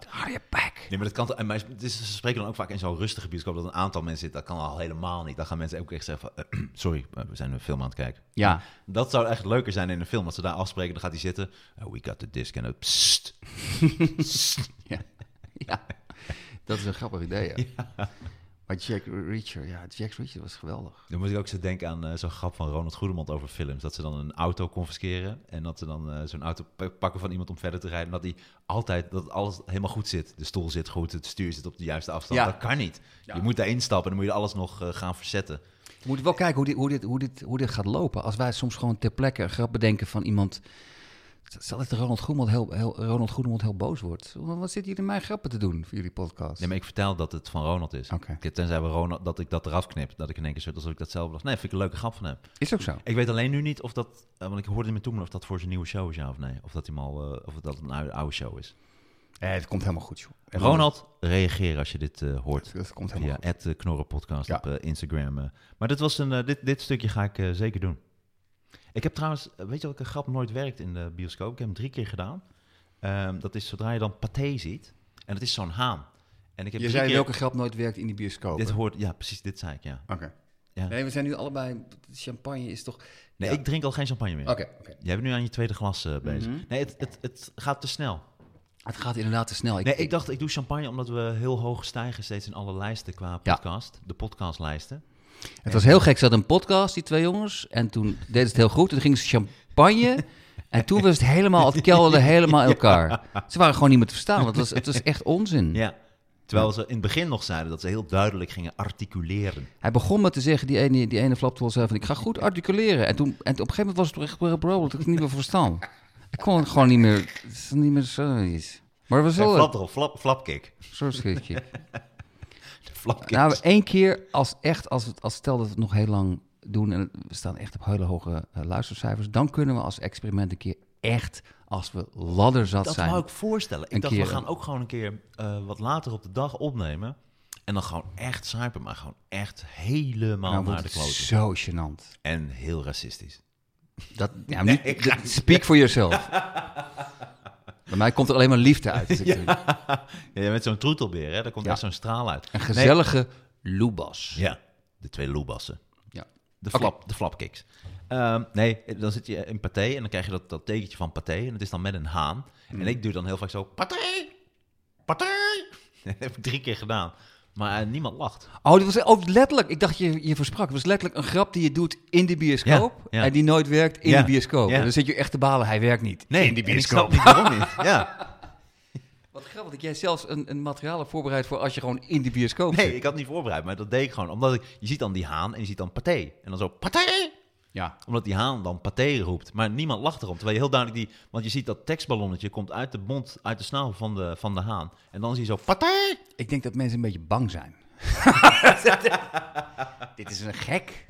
Hou je bek.
Nee, maar dat kan toch- en maar het is, ze spreken dan ook vaak in zo'n rustige bioscoop dat een aantal mensen zit. Dat kan al helemaal niet. Dan gaan mensen ook echt zeggen van, <clears throat> sorry, maar we zijn een film aan het kijken.
Ja.
Dat zou echt leuker zijn in een film. Als ze daar afspreken, dan gaat hij zitten. "Oh, we got the disc en het psst.
ja. <laughs> Ja. Dat is een grappig idee, ja. Maar Jack Reacher, ja, Jack Reacher was geweldig.
Dan moet ik ook zo denken aan eh, zo'n grap van Ronald Goedemond over films. Dat ze dan een auto confisceren en dat ze dan eh, zo'n auto p- pakken van iemand om verder te rijden. En dat die altijd, dat alles helemaal goed zit. De stoel zit goed, het stuur zit op de juiste afstand.
Ja.
Dat kan niet. Je moet daar instappen en dan moet je alles nog eh, gaan verzetten.
We moeten wel kijken hoe dit, hoe, dit, hoe, dit, hoe dit gaat lopen. Als wij soms gewoon ter plekke een grap bedenken van iemand... Stel dat Ronald Goedemond heel, heel, Ronald Goedemond heel boos wordt. Wat zit hier in mijn grappen te doen voor jullie podcast?
Nee, maar ik vertel dat het van Ronald is.
Oké.
Ik- Tenzij we Ronald, dat ik dat eraf knip. Dat ik in één keer zo, alsof ik dat zelf dacht. Nee, vind ik een leuke grap van hem.
Is ook zo.
Ik weet alleen nu niet of dat, eh, want ik hoorde met toen of dat voor zijn nieuwe show is, ja of nee. Of dat, hij hem al, eh, of dat een oude, oude show is.
Eh, het komt helemaal goed, joh. En
Ronald, reageer als je dit eh, hoort.
dan- Dat komt helemaal
Via
goed.
het Knorrenpodcast
Ja.
op eh, Instagram. eh. Maar dit, was een, eh, dit, dit stukje ga ik eh, zeker doen. Ik heb trouwens, eh, weet je welke grap nooit werkt in de bioscoop? Ik heb hem drie keer gedaan. Ehm, dat is zodra je dan paté ziet. En het is zo'n haan. En ik heb
Je
drie
zei
keer-
welke grap nooit werkt in die bioscoop.
Dit hoort, ja, precies, dit zei ik, ja.
Oké.
Ja.
Nee, we zijn nu allebei... Champagne is toch...
Nee,
Ja.
ik drink al geen champagne meer.
Oké. Mhm. oké.
Jij bent nu aan je tweede glas eh, bezig. Nee, het, het, het gaat te snel.
Het gaat inderdaad te snel. Ik,
Nee, ik dacht, ik doe champagne omdat we heel hoog stijgen steeds in alle lijsten qua
Ja.
podcast. De podcastlijsten.
Het was heel gek. Ze hadden een podcast, die twee jongens. En toen deden ze het heel goed. En toen gingen ze champagne. En toen was het helemaal, het kelderde helemaal in elkaar. Ze waren gewoon niet meer te verstaan. Want het was, het was echt onzin.
Ja. Terwijl ze in het begin nog zeiden dat ze heel duidelijk gingen articuleren.
Hij begon met te zeggen, die ene, die ene flaptol zei van... ik ga goed articuleren. En, toen, en op een gegeven moment was het toch echt... bro, bro, dat ik het niet meer verstaan. Ik kon het gewoon niet meer... Het is niet meer zoiets. Maar we
Zij
zullen...
flap erop, flap, flapkick.
Zo'n schietje.
Flapkick.
Nou, één keer als echt, als, we- als stel dat we het nog heel lang doen en we staan echt op hele hoge eh, luistercijfers, dan kunnen we als experiment een keer echt, als we ladderzat
dat
zijn.
wou ik voorstellen. Ik
Een
dacht,
keer.
we gaan ook gewoon een keer eh, wat later op de dag opnemen. En dan gewoon echt zuipen, maar gewoon echt helemaal naar
nou, wordt
de
het
kloten.
zo gênant.
En heel racistisch.
Dat, ja, niet, dat- speak for yourself. Bij mij komt er alleen maar liefde uit. Dus ik-
Ja, met zo'n troetelbeer, hè? Daar komt
Ja.
echt zo'n straal uit.
Een gezellige loebas.
Nee, ja, de twee loebassen.
Ja.
De,
Oké.
flap, de flapkicks. Ehm, nee, dan zit je in paté en dan krijg je dat, dat tekentje van paté. En het is dan met een haan.
Mm.
En ik doe dan heel vaak zo, paté, paté. <laughs> Dat heb ik drie keer gedaan. Maar eh, niemand lacht.
Oh, dit was oh, letterlijk. Ik dacht je, je versprak. Het was letterlijk een grap die je doet in de bioscoop.
Ja, ja.
En die nooit werkt in
Ja,
de bioscoop.
ja.
En dan zit je echt te balen. Hij werkt niet.
Nee,
in die
en ik
bioscoop.
snap niet waarom
<laughs>
niet. Ja.
Wat grappig dat jij zelfs een, een materiaal hebt voorbereid voor als je gewoon in de bioscoop
Nee,
zit.
ik had niet voorbereid, maar dat deed ik gewoon. Omdat ik, je ziet dan die haan en je ziet dan paté. En dan zo, paté.
Ja.
Omdat die haan dan paté roept. Maar niemand lacht erom. Terwijl je heel duidelijk die... Want je ziet dat tekstballonnetje komt uit de mond, uit de snavel van de, van de haan. En dan zie je zo, paté.
Ik denk dat mensen een beetje
<laughs>
bang zijn. Dit is een gek.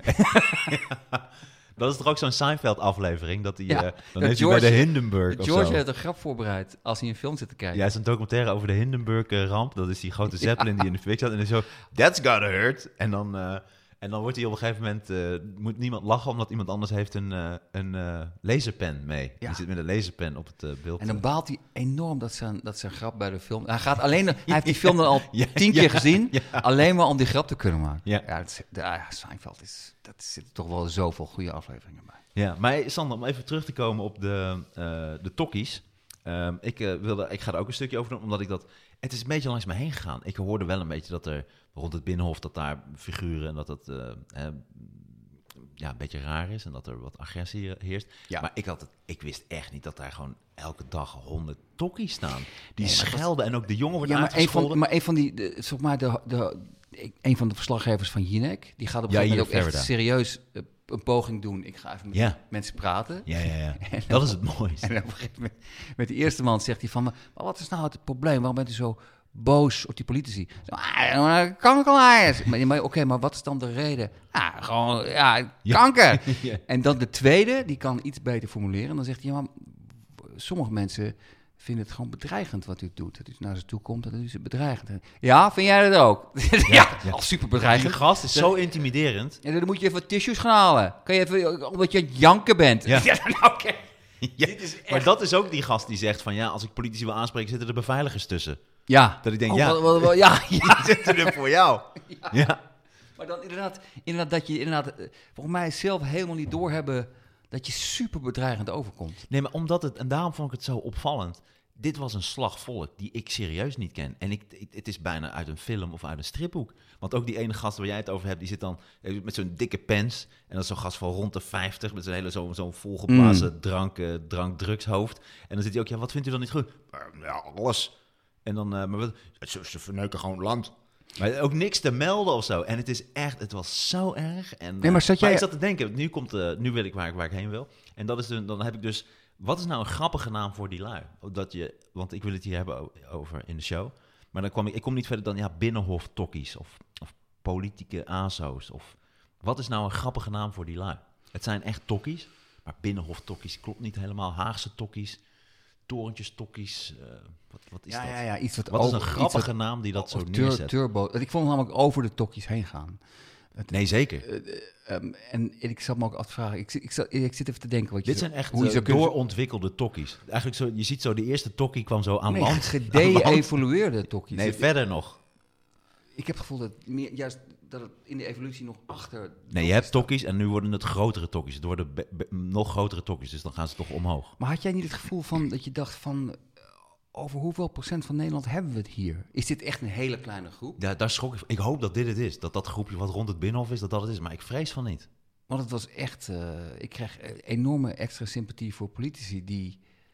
Dat is toch ook zo'n Seinfeld-aflevering? Dat hij,
Ja,
eh, dan
dat
heeft
George-
hij bij de Hindenburg of
George
zo.
heeft een grap voorbereid als hij een film zit te kijken.
Ja, het is een documentaire over de Hindenburg-ramp. Dat is die grote zeppelin die in de fik zat. En dan zo, that's gotta hurt. En dan, eh, en dan wordt hij op een gegeven moment... eh, moet niemand lachen, omdat iemand anders heeft een, eh, een eh, laserpen mee.
Ja.
Die zit met een laserpen op het eh, beeld.
En dan baalt hij enorm dat zijn, dat zijn grap bij de film. Hij, gaat alleen, hij heeft die film dan
<laughs>
al tien keer gezien. Alleen maar om die grap te kunnen maken.
Ja.
het is, de, ah, ja, Seinfeld is. Dat zit toch wel zoveel goede afleveringen bij.
Ja, maar Sander, om even terug te komen op de, eh de tokkies. Ehm, ik, eh, wilde, ik ga er ook een stukje over doen, omdat ik dat... Het is een beetje langs me heen gegaan. Ik hoorde wel een beetje dat er rond het Binnenhof... dat daar figuren en dat dat eh, eh, ja, een beetje raar is... en dat er wat agressie heerst.
Ja.
Maar ik, had het, ik wist echt niet dat daar gewoon elke dag honderd tokkies staan. Die
Nee, maar dat-
schelden en ook de jongen wordt
Ja, maar een
uitgescholden.
van, maar een van die. De, zeg maar de, de, ik- een van de verslaggevers van Jinek. Die gaat op een
Ja,
gegeven moment ook
hier,
echt
Verda.
serieus eh, een poging doen. Ik ga even met
Ja.
mensen praten.
Ja, ja, ja. Dat is het mooiste.
<laughs> En op een gegeven moment, met die eerste man zegt hij van... Maar wat is nou het probleem? Waarom bent u zo boos op die politici? Zo, ah, kankerlaars. Maar, maar oké, maar wat is dan de reden? Ah, gewoon, ja, <laughs> kanker.
Ja.
En dan de tweede, die kan iets beter formuleren. Dan zegt hij, ja, maar sommige mensen vinden het gewoon bedreigend wat u doet. Dat u naar ze toe komt, dat u ze bedreigend. Ja, vind jij dat ook? <laughs> ja, al
Die
super bedreigend.
gast is zo intimiderend.
En dan moet je even tissues gaan halen. Kan je even, omdat je aan het janken bent. <laughs>
Ja.
nou, oké.
<laughs> Ja, Maar dat is ook die gast die zegt van ja, als ik politici wil aanspreken, zitten er beveiligers tussen.
Ja.
Dat ik denk,
Oh,
ja.
wat- wat- wat- ja,
<laughs>
ja.
Die zitten er voor jou. <laughs> Ja.
Maar dan inderdaad, inderdaad dat je inderdaad, eh, volgens mij zelf helemaal niet doorhebben dat je super bedreigend overkomt.
Nee, maar omdat het, en daarom vond ik het zo opvallend. Dit was een slag volk die ik serieus niet ken. En ik, ik- het is bijna uit een film of uit een stripboek. Want ook die ene gast waar jij het over hebt, die zit dan eh, met zo'n dikke pens. En dat is zo'n gast van rond de 50, met zo'n hele zo'n zo'n volgeblazen drank, eh, drankdrugshoofd. En dan zit hij ook, ja, wat vindt u dan niet goed?
Eh, Ja, alles.
En dan, eh, maar wat,
Ze, ze verneuken gewoon land.
Maar ook niks te melden of zo. En het is echt, het was zo erg. En, eh,
Nee, maar zat jij-
ik zat te denken, nu, komt, eh, nu wil ik waar, ik- waar ik heen wil. En dat is de- dan heb ik dus, wat is nou een grappige naam voor die lui? Dat je, want ik wil het hier hebben o- over in de show. Maar dan kwam ik, ik kom niet verder dan, ja, binnenhof tokkies of, of politieke azo's. Of, wat is nou een grappige naam voor die lui? Het zijn echt tokkies, maar binnenhof tokkies klopt niet helemaal. Haagse tokkies, torentjes tokkies, eh, wat, wat is dat?
ja, iets
Wat is
over-
een
iets
grappige naam die dat zo
wat
neerzet?
tur- turbo. Want Ik vond hem namelijk over de tokkies heen gaan.
Nee, zeker.
Ehm, en ik zat me ook af te vragen, ik, zit- ik, zat- ik zit even te denken wat je
Dit
zo-
zijn echt
hoe je
eh,
zou kunnen-
doorontwikkelde tokkies. Eigenlijk zo, je ziet zo, de eerste tokkie kwam zo aan
Nee, E
land. <laughs> Aan land.
gede-evolueerde tokkies.
Nee, verder nog.
ik heb het gevoel dat meer, juist dat het in de evolutie nog achter...
Nee, je hebt tokkies en nu worden het grotere tokkies. Het worden be- be- nog grotere tokkies, dus dan gaan ze toch omhoog.
Maar had jij niet het gevoel van dat je dacht van... eh, Over hoeveel procent van Nederland hebben we het hier? Is dit echt een hele kleine groep?
Ja, daar schrok ik van. Ik hoop dat dit het is. Dat dat groepje wat rond het binnenhof is, dat dat het is. Maar ik vrees van niet.
Want het was echt. eh, ik krijg eh, enorme extra sympathie voor politici die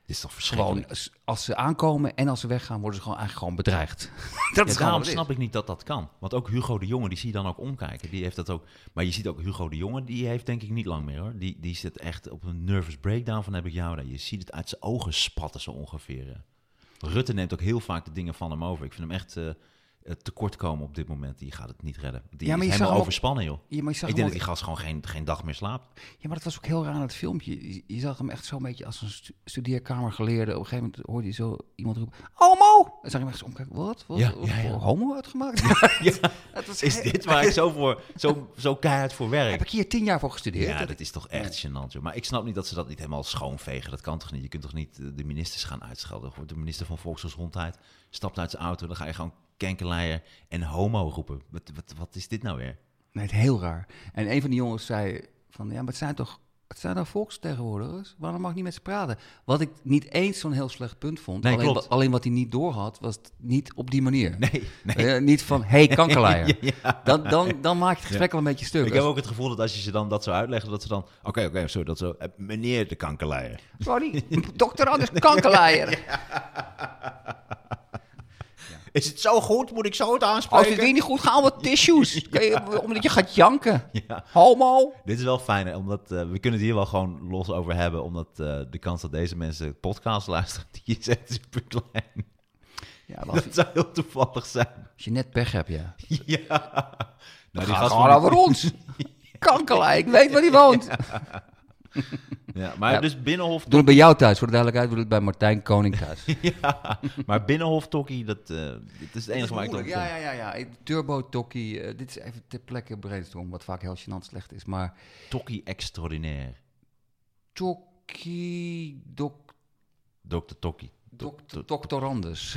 Dit is toch verschrikkelijk.
gewoon als- als ze aankomen en als ze weggaan, worden ze gewoon eigenlijk gewoon bedreigd. <laughs> dat
Ja,
is gewoon
daarom
wat het
snap
is.
ik niet dat dat kan. Want ook Hugo de Jonge, die zie je dan ook omkijken. Die heeft dat ook. Maar je ziet ook Hugo de Jonge, die heeft denk ik niet lang meer hoor. Die, die zit echt op een nervous breakdown van heb ik jou daar. Je ziet het uit zijn ogen spatten zo ongeveer. eh. Rutte neemt ook heel vaak de dingen van hem over. Ik vind hem echt. eh, eh, tekortkomen op dit moment. Die gaat het niet redden. Die
Ja, maar
is
je zag
helemaal
hem ook-
overspannen, joh.
Ja, maar je zag
Ik
hem
denk dat
ook-
die gast gewoon geen, geen dag meer
<laughs>
slaapt.
Ja, maar dat was ook heel raar aan het filmpje. Je, je zag hem echt zo'n beetje als een stu- studeerkamergeleerde. Op een gegeven moment hoorde je zo iemand roepen... Homo! En dan zag je hem echt zo omkijken. Wat? Wat?
Ja,
Wat
ja, ja.
voor
<laughs>
Homo uitgemaakt? Ja, dat was
Is
heel-
dit waar ik zo,
<laughs>
voor, zo, zo keihard voor
Heb
werk?
ik hier tien jaar voor gestudeerd?
Ja, dat is toch echt gênant, joh. Maar ik snap niet dat ze dat niet helemaal schoonvegen. Dat kan toch niet? Je kunt toch niet eh, de ministers gaan uitschelden? Gewoon De minister van Volksgezondheid stapt uit zijn auto... dan ga je gewoon kenkerleier en homo roepen. Wat, wat, wat is dit nou weer? <laughs>
Nee, het is heel raar. En een van die jongens zei van... Ja, maar het zijn toch... Het zijn toch volksvertegenwoordigers? Waarom mag ik niet met ze praten? Wat ik niet eens zo'n heel slecht punt vond.
Nee,
alleen,
klopt.
wa- alleen wat hij niet doorhad, was het niet op die manier.
Nee, nee.
Eh, niet van, <laughs> hey, kankerlaaier.
<laughs> Ja.
dan, dan, dan maak je het gesprek wel een beetje stuk.
Ik heb ook het gevoel dat als je ze dan dat zo uitleggen... dat ze dan... Oké, oké, zo dat zo... eh, meneer de kankerleier.
Sorry, <laughs> dokter Anders <laughs> Kankerlaaier.
Is het zo goed? Moet ik zo het
Als het
aanspreken?
weer niet goed gaat, wat <laughs> tissues. Kun je- Omdat je gaat janken.
Ja.
Homo.
Dit is wel fijn, hè, omdat eh, we kunnen het hier wel gewoon los over hebben. Omdat eh, de kans dat deze mensen podcast luisteren, <laughs> die is echt super klein.
Ja, maar als,
Dat zou heel toevallig zijn.
als je net pech hebt, <laughs> ja.
ja. Nou,
Het gaat
gast
gewoon
van-
over <laughs> ons. Kankerlaaier, ik weet waar hij woont.
Ja, maar
Ja.
dus Binnenhof,
Doe het bij jou thuis, voor de duidelijkheid. Doe het bij Martijn Koning thuis.
<laughs> maar Binnenhof Tokkie, dat, eh, dat is het enige waar ik het
Moeilijk,
over
ja,
kon.
ja, ja, ja. Turbo Tokkie. eh, dit is even ter plekke brainstorm, wat vaak heel gênant slecht is. Maar
Tokkie extraordinair.
Tokkie dok,
Dr. Tokkie.
dokter, doctorandus.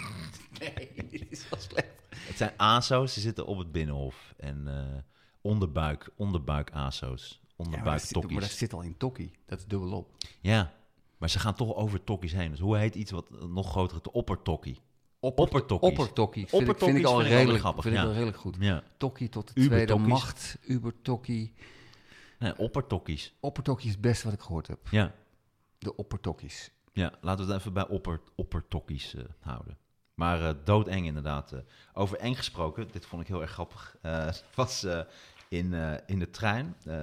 <laughs> nee, dit is wel slecht.
Het zijn ASO's, ze zitten op het Binnenhof. En eh, onderbuik, onderbuik ASO's.
Ja,
Onderbuik
maar, dat zit, maar dat
Tokkies.
zit al in Tokkie. Dat is dubbelop.
Ja, maar ze gaan toch over Tokkies heen. Dus hoe heet iets wat een nog groter is? De Oppertokkie. Oppertokkies.
Oppertokkie vind, ik- vind
Oppertokkies
ik al
vind ik wel
redelijk,
grappig,
vind ik
ja.
wel redelijk goed.
Ja,
Tokkie tot de
Uber
tweede
tokkies.
macht. Uber Tokkie.
nee, oppertokkies.
Oppertokkie is het beste wat ik gehoord heb.
Ja.
De oppertokkies.
ja, laten we het even bij opper, oppertokkies eh, houden. Maar eh, doodeng inderdaad. eh. over eng gesproken, dit vond ik heel erg grappig, eh, <laughs> was eh, in, eh, in de trein. Eh,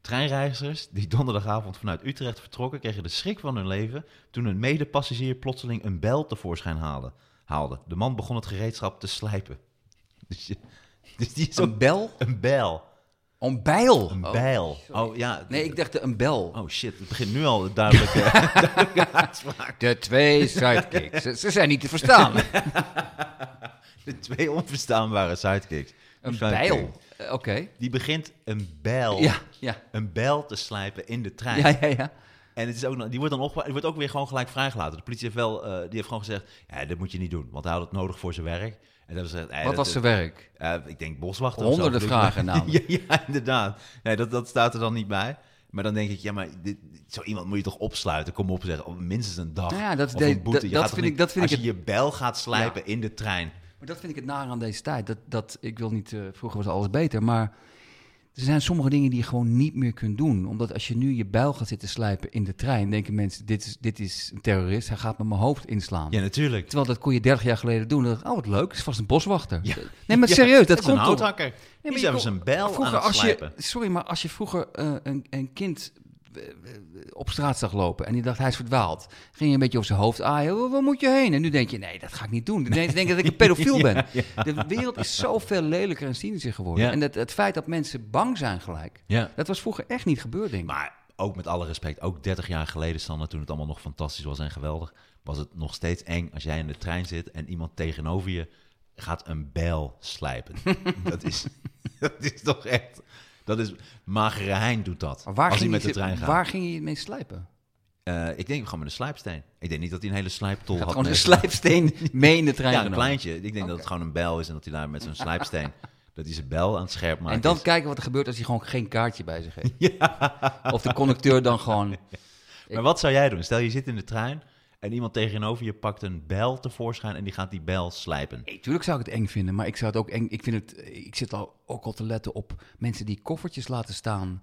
treinreizigers die donderdagavond vanuit Utrecht vertrokken, kregen de schrik van hun leven toen een medepassagier plotseling een bel tevoorschijn haalde. haalde. De man begon het gereedschap te slijpen. <laughs> Dus, je- dus die is ook
Een bel?
een bijl.
Een bijl.
Een
Oh.
bijl. Oh ja.
Nee, ik dacht een bel.
Oh shit, het begint nu al duidelijk. eh, <laughs>
De twee sidekicks. ze, ze zijn niet te
<laughs>
verstaan.
de twee onverstaanbare sidekicks.
Een
Sidekick.
bijl. Eh, Oké.
Die begint een bijl,
Ja, ja.
een bijl te slijpen in de trein.
Ja, ja, ja.
En het is ook, nog- die, wordt dan opge- die wordt ook weer gewoon gelijk vrijgelaten. De politie heeft, wel, eh, die heeft gewoon gezegd, ja, dat moet je niet doen, want hij had het nodig voor zijn werk. En dat gezegd, nee,
Wat
dat-
was zijn werk?
eh, ik denk boswachter. of
Honderden
zo.
vragen namelijk.
<laughs> ja, ja, inderdaad. Nee, dat, dat staat er dan niet bij. Maar dan denk ik, ja, maar dit, zo iemand moet je toch opsluiten? Kom op, zeg. Of minstens een dag.
Nou ja, dat is
of
de-
een boete.
dat-
Je
dat
gaat toch
vind ik-
niet-
dat vind
als
ik
je je bel gaat slijpen in de trein.
Maar dat vind ik het naar aan deze tijd. Dat, dat, ik wil niet, eh, vroeger was alles beter, maar er zijn sommige dingen die je gewoon niet meer kunt doen. Omdat als je nu je buil gaat zitten slijpen in de trein, denken mensen, dit is, dit is een terrorist, hij gaat me mijn hoofd inslaan.
Ja, natuurlijk.
Terwijl dat kon je 30 jaar geleden doen. Dan dacht ik, oh wat leuk, is vast een boswachter.
Ja.
Nee, maar
<laughs> Ja,
serieus, dat,
dat is
komt
een
toch?
houthakker.
Nee,
Die
maar
zijn
je
dus
kon-
een bijl aan
vroeger
het
als je,
slijpen.
Sorry, maar als je vroeger eh, een, een kind eh, eh, op straat zag lopen en die dacht hij is verdwaald, ging je een beetje op zijn hoofd aaien, "Waar- waar moet je heen? En nu denk je, nee, dat ga ik niet doen. Dan denk je dat
<laughs>
ik een pedofiel ben. De wereld is zoveel lelijker en cynischer geworden.
Ja.
En het, het feit dat mensen bang zijn gelijk,
Ja.
dat was vroeger echt niet gebeurd, denk ik.
Maar ook met alle respect, ook 30 jaar geleden, Sander, toen het allemaal nog fantastisch was en geweldig, was het nog steeds eng als jij in de trein zit en iemand tegenover je gaat een bijl
<laughs>
slijpen. dat, is, dat is toch echt... Dat is... Magere Hein doet dat.
Maar waar,
als hij
ging
met
je,
de trein gaat.
waar ging je het mee slijpen?
Eh, ik denk gewoon met een slijpsteen. Ik denk niet dat hij een hele slijptol had.
Gewoon een
meegenomen.
slijpsteen mee in de trein
Ja, een
genomen.
kleintje. Ik denk dat het gewoon een bijl is en dat hij daar met
<laughs>
zo'n slijpsteen... dat hij zijn bijl aan het scherp maakt.
En dan kijken wat er gebeurt als hij gewoon geen kaartje bij zich heeft.
<laughs>
Of de conducteur dan gewoon...
Maar wat zou jij doen? Stel, je zit in de trein en iemand tegenover je pakt een bel tevoorschijn en die gaat die bel slijpen.
Nee, tuurlijk zou ik het eng vinden, maar ik zou het ook eng. Ik vind het. eh, Ik zit al ook al te letten op mensen die koffertjes laten staan.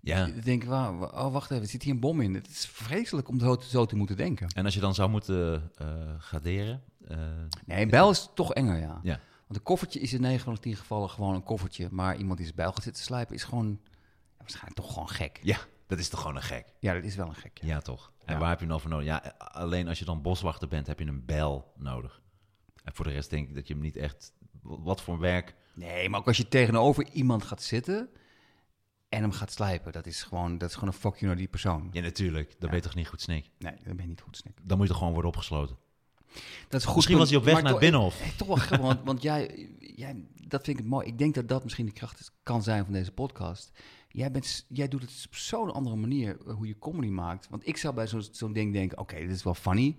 Ja.
Ik denk, wauw, wa- oh wacht even, zit hier een bom in? Het is vreselijk om zo, zo te moeten denken.
En als je dan zou moeten eh, graderen... eh,
Nee, een bijl is toch enger, ja.
ja.
Want een koffertje is in 9 van de 10 gevallen gewoon een koffertje, maar iemand die zijn bijl gaat zitten slijpen is gewoon ja, waarschijnlijk toch gewoon gek.
ja, dat is toch gewoon een gek?
Ja, dat is wel een gek. ja.
Ja, toch? En waar heb je dan voor nodig? Ja, eh, alleen als je dan boswachter bent, heb je een bel nodig. En voor de rest denk ik dat je hem niet echt... Wat voor werk...
Nee, maar ook als je tegenover iemand gaat zitten en hem gaat slijpen. Dat is gewoon, dat is gewoon een fuck you naar die persoon.
Ja, natuurlijk. Dan ben je toch niet goed snik.
Nee, dat ben je niet goed, Snik.
Dan moet je toch gewoon worden opgesloten.
Dat is een goed
Misschien
punt,
was hij op weg
maar
naar het
toch-
Binnenhof.
Hey, toch <laughs> wel grappig, want, want jij, jij, dat vind ik het mooi. Ik denk dat dat misschien de kracht is- kan zijn van deze podcast. Jij, bent, s- jij doet het op zo'n andere manier eh, hoe je comedy maakt. Want ik zou bij zo'n zo'n ding denken, oké, dit is wel funny,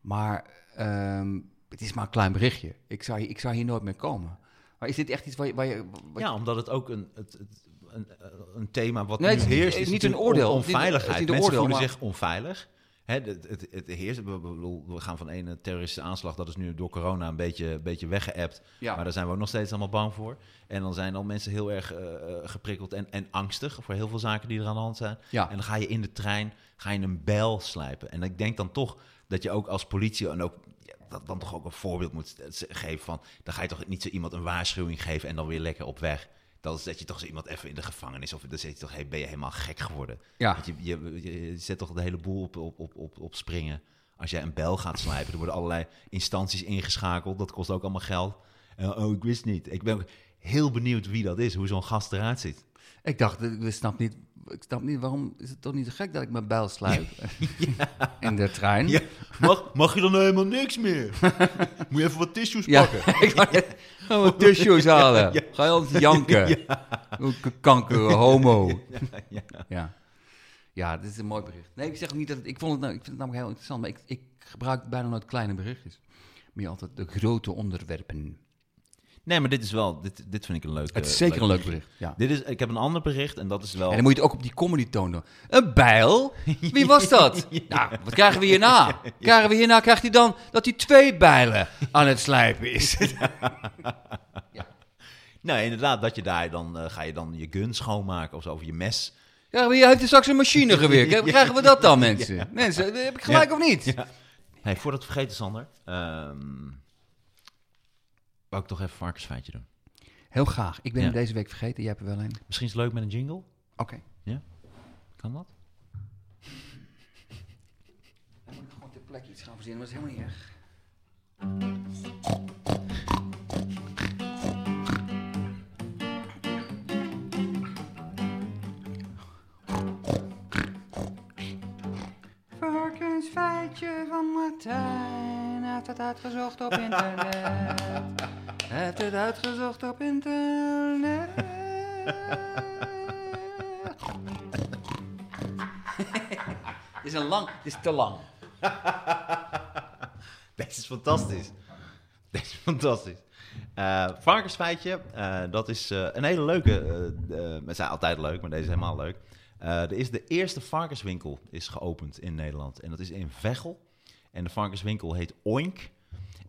maar ehm, het is maar een klein berichtje. Ik zou, hier- ik zou hier nooit meer komen. Maar is dit echt iets waar je... Waar je wat-
Ja, omdat het ook een, het, het- een, eh, een thema wat
Nee,
nu
het is niet-
heerst is
niet een
natuurlijk on-
oordeel. Het is niet-
onveiligheid.
het is niet een
Mensen
oordeel,
voelen
maar-
zich onveilig. Hè, het, het, het heerst, we- we, we gaan van één terroristische aanslag, dat is nu door corona een beetje, een beetje weggeëpt.
Ja.
Maar daar zijn we ook nog steeds allemaal bang voor. En dan zijn al mensen heel erg eh, eh, geprikkeld en, en angstig voor heel veel zaken die er aan de hand zijn.
Ja.
En dan ga je in de trein, ga je een bijl slijpen. En ik denk dan toch dat je ook als politie en ook ja, dat dan toch ook een voorbeeld moet eh, ze- geven van, dan ga je toch niet zo iemand een waarschuwing geven en dan weer lekker op weg. Dat is dat je toch zo iemand even in de gevangenis of dan zit je toch, hey, ben je helemaal gek geworden?
Ja.
Want je, je, je zet toch de hele boel op, op, op, op, op springen. Als jij een bel gaat slijpen, er worden allerlei instanties ingeschakeld. Dat kost ook allemaal geld. En, oh, ik wist niet. Ik ben ook heel benieuwd wie dat is, hoe zo'n gast eruit ziet.
Ik dacht, eh, ik snap, niet, ik snap niet, waarom is het toch niet zo gek dat ik mijn bijl sluip <laughs> in de
<laughs>
trein?
Ja, mag, mag je dan nou helemaal niks
<laughs>
meer? Moet je even wat tissues
Ja,
pakken?
<laughs> ik wou net- Gaan we tissues <laughs> halen? Ga je ons <laughs> janken? K- Kanker, <laughs> homo.
ja.
Ja. ja, dit is een mooi bericht. Nee, ik zeg ook niet dat... het- ik, vond het, nou, ik vind het namelijk heel interessant, maar ik, ik gebruik bijna nooit kleine berichtjes. Meer altijd de grote onderwerpen.
Nee, maar dit is wel, dit, dit vind ik een leuk
Het is
eh,
zeker een leuk bericht, ja.
Dit is, ik heb een ander bericht en dat is wel...
En dan moet je het ook op die comedy toon doen. Een <laughs> bijl? Wie was dat? Nou, wat krijgen we hierna? Krijgen we hierna, krijgt hij dan dat hij twee bijlen aan het slijpen is.
Nou, inderdaad, dat je daar dan, eh, ga je dan je gun schoonmaken of zo, of je mes.
Ja, maar je heeft er straks een
<laughs>
machinegeweer. Krijgen- Krijgen we dat dan, mensen? Mensen, heb ik gelijk
Ja.
of niet?
Hey, voordat we vergeten, Sander, ehm wou ik toch even een varkensfeitje doen.
Heel graag. Ik ben
Ja.
hem deze week vergeten. Jij hebt er wel een.
Misschien is het leuk met een jingle?
Oké.
Kan dat?
Dan moet ik gewoon ter plekke iets gaan verzinnen, maar dat is helemaal niet erg. Varkensfeitje van Martijn. Hij heeft het uitgezocht op internet. Hij heeft het uitgezocht op internet. <laughs> Dit is een lang, dit is te lang.
Deze is fantastisch. <laughs> Deze is fantastisch. Eh, varkensfeitje, eh, dat is eh, een hele leuke. eh, eh, het zijn altijd leuk, maar deze is helemaal leuk. Eh, er is de eerste varkenswinkel is geopend in Nederland. En dat is in Veghel. En de varkenswinkel heet Oink.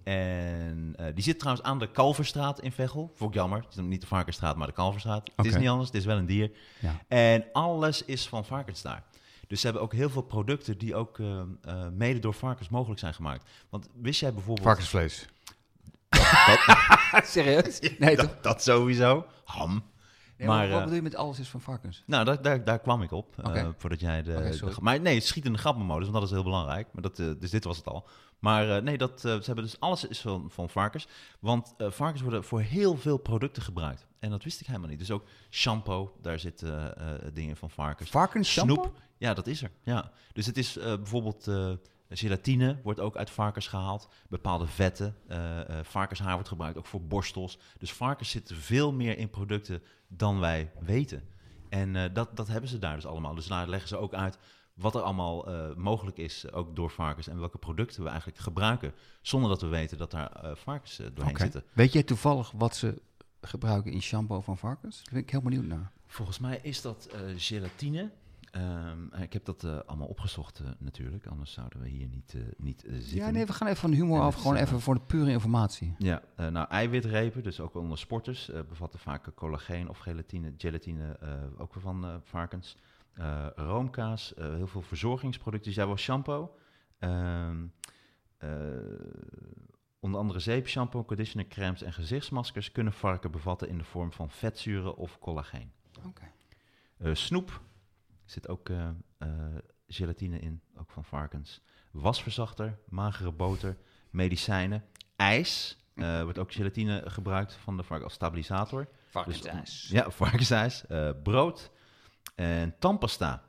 En eh, die zit trouwens aan de Kalverstraat in Veghel. Vond ik jammer. Het is dan niet de Varkensstraat, maar de Kalverstraat. Het is
Oké.
niet anders, het is wel een dier.
Ja.
En alles is van varkens daar. Dus ze hebben ook heel veel producten die ook eh, eh, mede door varkens mogelijk zijn gemaakt. Want wist jij bijvoorbeeld...
Varkensvlees. Serieus? Nee, toch?
Dat, dat sowieso. Ham.
Nee, maar,
maar
wat
eh,
bedoel je met alles is van varkens?
nou, daar, daar, daar kwam ik op. eh,
Oké.
voordat jij de,
Oké,
de-
sorry.
Maar nee, schietende grappenmodus, want dat is heel belangrijk. Maar dat, eh, dus dit was het al. Maar eh, nee, dat, eh, ze hebben dus alles is van, van varkens. Want eh, varkens worden voor heel veel producten gebruikt. En dat wist ik helemaal niet. Dus ook shampoo, daar zitten eh, eh, dingen van varkens.
Varkens
Snoep. Ja, dat is er. Ja. Dus het is eh, bijvoorbeeld eh, gelatine wordt ook uit varkens gehaald. Bepaalde vetten. Eh, eh, varkenshaar wordt gebruikt ook voor borstels. Dus varkens zitten veel meer in producten dan wij weten. En eh, dat, dat hebben ze daar dus allemaal. Dus daar leggen ze ook uit wat er allemaal eh, mogelijk is, ook door varkens. En welke producten we eigenlijk gebruiken. Zonder dat we weten dat daar eh, varkens eh, doorheen zitten.
Weet jij toevallig wat ze gebruiken in shampoo van varkens? Daar ben ik heel benieuwd naar.
Volgens mij is dat eh, gelatine. Ehm, ik heb dat eh, allemaal opgezocht eh, natuurlijk, anders zouden we hier niet, eh, niet eh, zitten.
Ja, nee, we gaan even van de humor
Ja,
af.
dat
Gewoon
is, eh,
even voor de pure informatie.
Ja, eh, nou eiwitrepen, dus ook onder sporters, eh, bevatten vaak collageen of gelatine, gelatine eh, ook weer van eh, varkens. Eh, roomkaas, eh, heel veel verzorgingsproducten. Dus Jij wel shampoo. Ehm, eh, onder andere zeep, shampoo, conditioner, crèmes en gezichtsmaskers kunnen varken bevatten in de vorm van vetzuren of collageen.
Oké.
Eh, snoep zit ook eh, eh, gelatine in, ook van varkens. Wasverzachter, magere boter, medicijnen, ijs. Eh wordt ook gelatine gebruikt van de vark als stabilisator.
Varkensijs.
Dus, Ja, <laughs> varkensijs, eh, brood en tandpasta.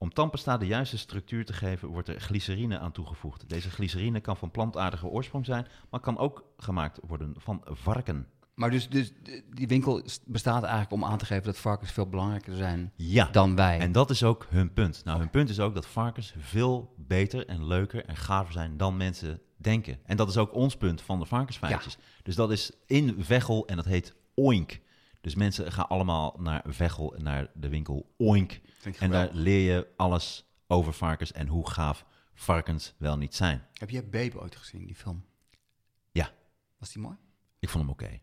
Om tandpasta de juiste structuur te geven, wordt er glycerine aan toegevoegd. Deze glycerine kan van plantaardige oorsprong zijn, maar kan ook gemaakt worden van varken.
Maar dus, dus eh, die winkel is- bestaat eigenlijk om aan te geven dat varkens veel belangrijker zijn
Ja,
dan wij.
en dat is ook hun punt. Nou, hun punt is ook dat varkens veel beter en leuker en gaver zijn dan mensen denken. En dat is ook ons punt van de varkensfeitjes. Dus dat is in Veghel en dat heet Oink. Dus mensen gaan allemaal naar Veghel, naar de winkel Oink. En daar leer je alles over varkens en hoe gaaf varkens wel niet zijn.
Heb jij Babe ooit gezien, die film?
Ja.
Was die mooi?
Ik vond hem oké.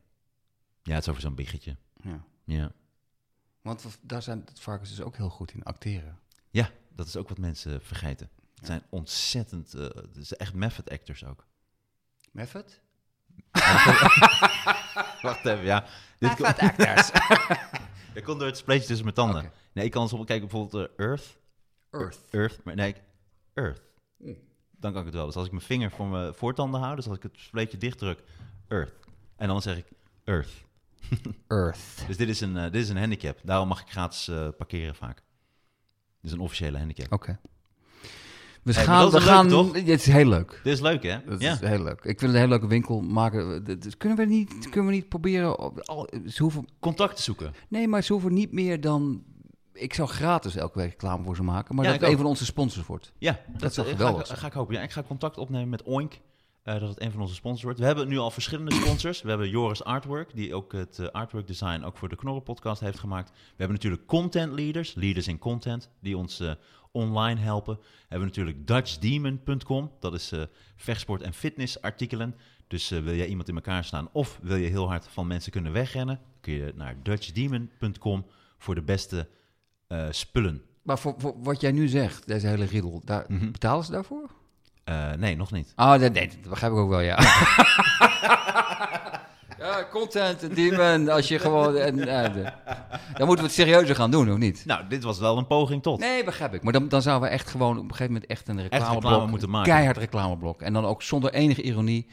Ja, het is over zo'n biggetje.
Ja.
Ja.
Want we- daar zijn de varkens dus ook heel goed in acteren.
ja, dat is ook wat mensen vergeten. Het zijn ontzettend, eh, het is echt method actors ook. <laughs>
Method?
Wacht even, ja. Dit komt-
<laughs> actors.
dat komt door het spleetje tussen mijn tanden.
Oké.
Nee, ik kan soms kijken bijvoorbeeld eh, Earth.
Earth.
Earth, maar nee, ik- Earth. Dan kan ik het wel. Dus als ik mijn vinger voor mijn voortanden hou, dus als ik het spleetje dicht druk, Earth. En dan zeg ik Earth.
Earth.
Dus dit is een, eh, dit is een handicap. Daarom mag ik gratis eh, parkeren vaak. Dit is een officiële handicap.
Oké. We
Hey, maar
gaan...
dat
We
is leuk,
gaan
toch?
Dit is heel leuk.
Dit is leuk, hè?
Dat
ja.
is heel leuk. Ik vind het een heel leuke winkel maken. Dat- dat- Kunnen we niet, kunnen we niet proberen... op- Al, ze hoeven,
Contact zoeken.
nee, maar ze hoeven niet meer dan... Ik zou gratis elke week reclame voor ze maken. Maar
Ja, ik
dat het een
ook.
van onze sponsors wordt.
Ja, dat,
zou
eh,
geweldig
Ga ik,
zijn.
ga ik hopen. Ja, ik ga contact opnemen met Oink. eh, dat het een van onze sponsors wordt. We hebben nu al verschillende sponsors. We hebben Joris Artwork, die ook het eh, artwork design ook voor de Knorren podcast heeft gemaakt. We hebben natuurlijk content leaders, leaders in content, die ons eh, online helpen. We hebben natuurlijk DutchDemon.com, dat is eh vechtsport- en fitnessartikelen. Dus eh, wil je iemand in elkaar staan of wil je heel hard van mensen kunnen wegrennen, kun je naar DutchDemon.com voor de beste eh, spullen.
Maar voor, voor wat jij nu zegt, deze hele riddel, daar,
Mhm.
betalen ze daarvoor?
Eh, nee, nog niet.
Ah, nee, nee, dat begrijp ik ook wel,
<laughs>
ja. ja, content, demon, als je gewoon... En, eh, de- dan moeten we het serieuzer gaan doen, of niet?
Nou, dit was wel een poging tot.
Nee, begrijp ik. Maar dan, dan zouden we echt gewoon op een gegeven moment echt een reclameblok...
reclame moeten maken.
Keihard reclameblok. En dan ook zonder enige ironie.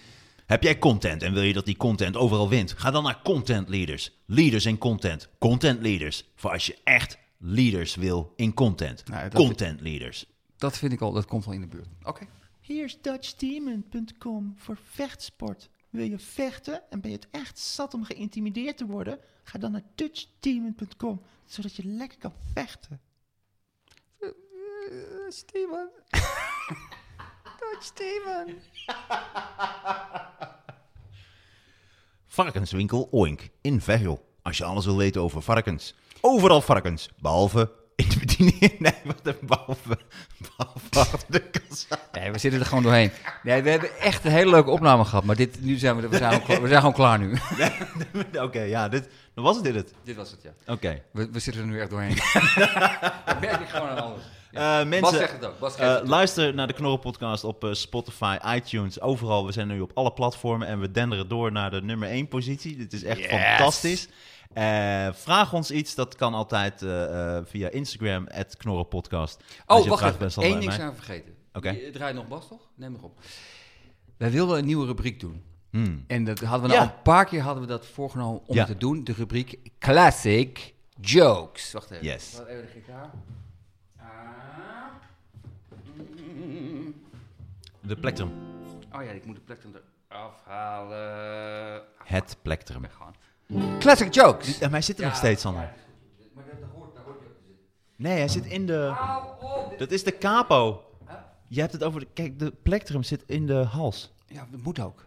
Heb jij content en wil je dat die content overal wint? Ga dan naar Content Leaders. Leaders in content. Content Leaders. Voor als je echt leaders wil in content.
Nou, dat-
content Leaders.
Dat vind ik al, dat komt wel in de buurt. Oké.
Hier is DutchDemon.com voor vechtsport. Wil je vechten en ben je het echt zat om geïntimideerd te worden? Ga dan naar DutchDemon.com, zodat je lekker kan vechten. Steven. Dutch Steven.
Varkenswinkel Oink in Veghel. Als je alles wil weten over varkens. Overal varkens. Behalve in de bediening. <laughs> Nee, wat een behalve. Behalve <laughs> achter de kassa.
Nee, we zitten er gewoon doorheen. Nee, we hebben echt een hele leuke opname gehad. Maar dit, nu zijn we, we, zijn, gewoon- we zijn gewoon klaar nu.
<laughs> Oké, ja, dit, dan was dit het.
dit was het, ja.
Oké.
We, we zitten er nu echt doorheen. dat merk ik gewoon aan alles.
Eh, mensen,
zegt het ook, Bas geeft
eh,
het toe.
luister naar de Knorrenpodcast op eh, Spotify, iTunes, overal. We zijn nu op alle platformen en we denderen door naar de nummer 1 positie. Dit is echt fantastisch. Eh, vraag ons iets, dat kan altijd eh, eh, via Instagram, @knorrenpodcast. Als
Oh,
je
wacht
vraagt,
even.
ben, zal
Eén
bij
ding
mij.
zijn we vergeten.
Oké.
Je draait nog Bas, toch? Neem nog op. Wij wilden een nieuwe rubriek doen.
Hmm.
En dat hadden we nou
Ja.
een paar keer hadden we dat voorgenomen om
Ja.
te doen. De rubriek Classic Jokes. Wacht even.
Yes.
Wat even de gitaar. Ah.
De plectrum.
Oh ja, ik moet de plek dan eraf halen.
Het plectrum.
Gewoon. Classic Jokes.
En hij zit er nog steeds, Sander.
Maar dat hoort, dat hoort je ook te zitten.
Nee, hij zit in de...
Hou op.
Dat is de capo. Je hebt het over... De... Kijk, de plectrum zit in de hals.
Ja, dat moet ook.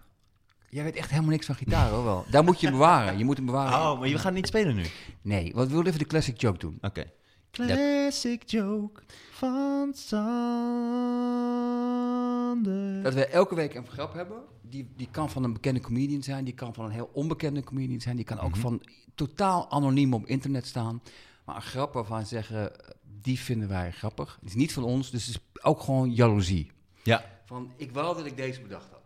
Jij weet echt helemaal niks van gitaar, hoor wel. Daar moet je hem bewaren. Je moet hem bewaren.
Oh, maar je gaat niet spelen nu. Oké.
Nee, want we wilden even de classic joke doen.
Classic joke van Sander.
Dat we elke week een grap hebben. Die, die kan van een bekende comedian zijn. Die kan van een heel onbekende comedian zijn. Die kan ook van totaal anoniem op internet staan. Maar een grap waarvan ze zeggen, eh, die vinden wij grappig. Het is niet van ons, dus het is ook gewoon jaloezie.
Ja. <laughs>
Van, ik wou dat ik deze bedacht had.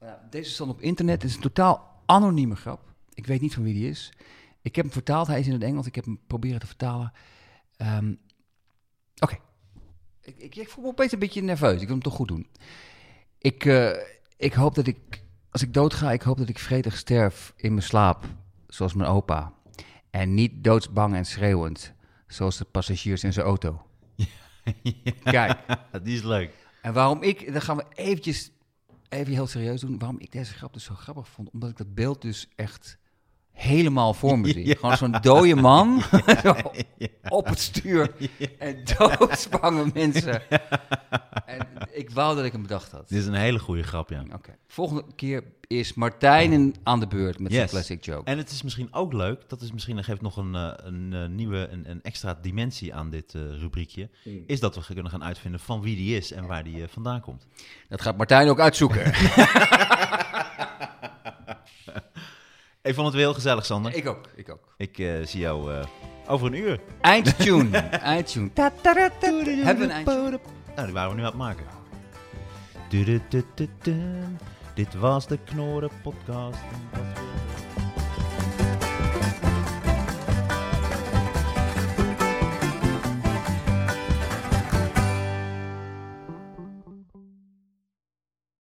Nou, deze stond op internet. Het is een totaal anonieme grap. Ik weet niet van wie die is. Ik heb hem vertaald. Hij is in het Engels. Ik heb hem proberen te vertalen. Ehm, Oké. Ik, ik, ik voel me opeens een beetje nerveus. Ik wil hem toch goed doen. Ik, eh, ik hoop dat ik Als ik doodga, ik hoop dat ik vredig sterf in mijn slaap, zoals mijn opa. En niet doodsbang en schreeuwend, zoals de passagiers in zijn auto. Kijk,
Die is leuk.
en waarom ik, dan gaan we eventjes, even heel serieus doen, waarom ik deze grap dus zo grappig vond. Omdat ik dat beeld dus echt helemaal voor me zie. Gewoon zo'n dode man <laughs> zo op het stuur en doodsbange mensen. En ik wou dat ik hem bedacht had.
Dit is een hele goede grap, ja.
Oké, volgende keer is Martijn in- aan de beurt met zijn
Yes.
classic joke.
En het is misschien ook leuk, dat is misschien, dat geeft nog een, eh, een eh, nieuwe, een, een extra dimensie aan dit eh, rubriekje, is dat we kunnen gaan uitvinden van wie die is en waar die eh, vandaan komt.
Dat gaat Martijn ook uitzoeken.
Ik vond het weer heel gezellig, Sander. Ik,
ik ook, ik ook.
eh, zie jou eh, over een uur.
Eindtune, eindtune. Ta- ta- ta- ta- Hebben we een eindtune?
Nou, die waren we nu aan het maken. Du-du-du-du-dum. Dit was de Knorren Podcast.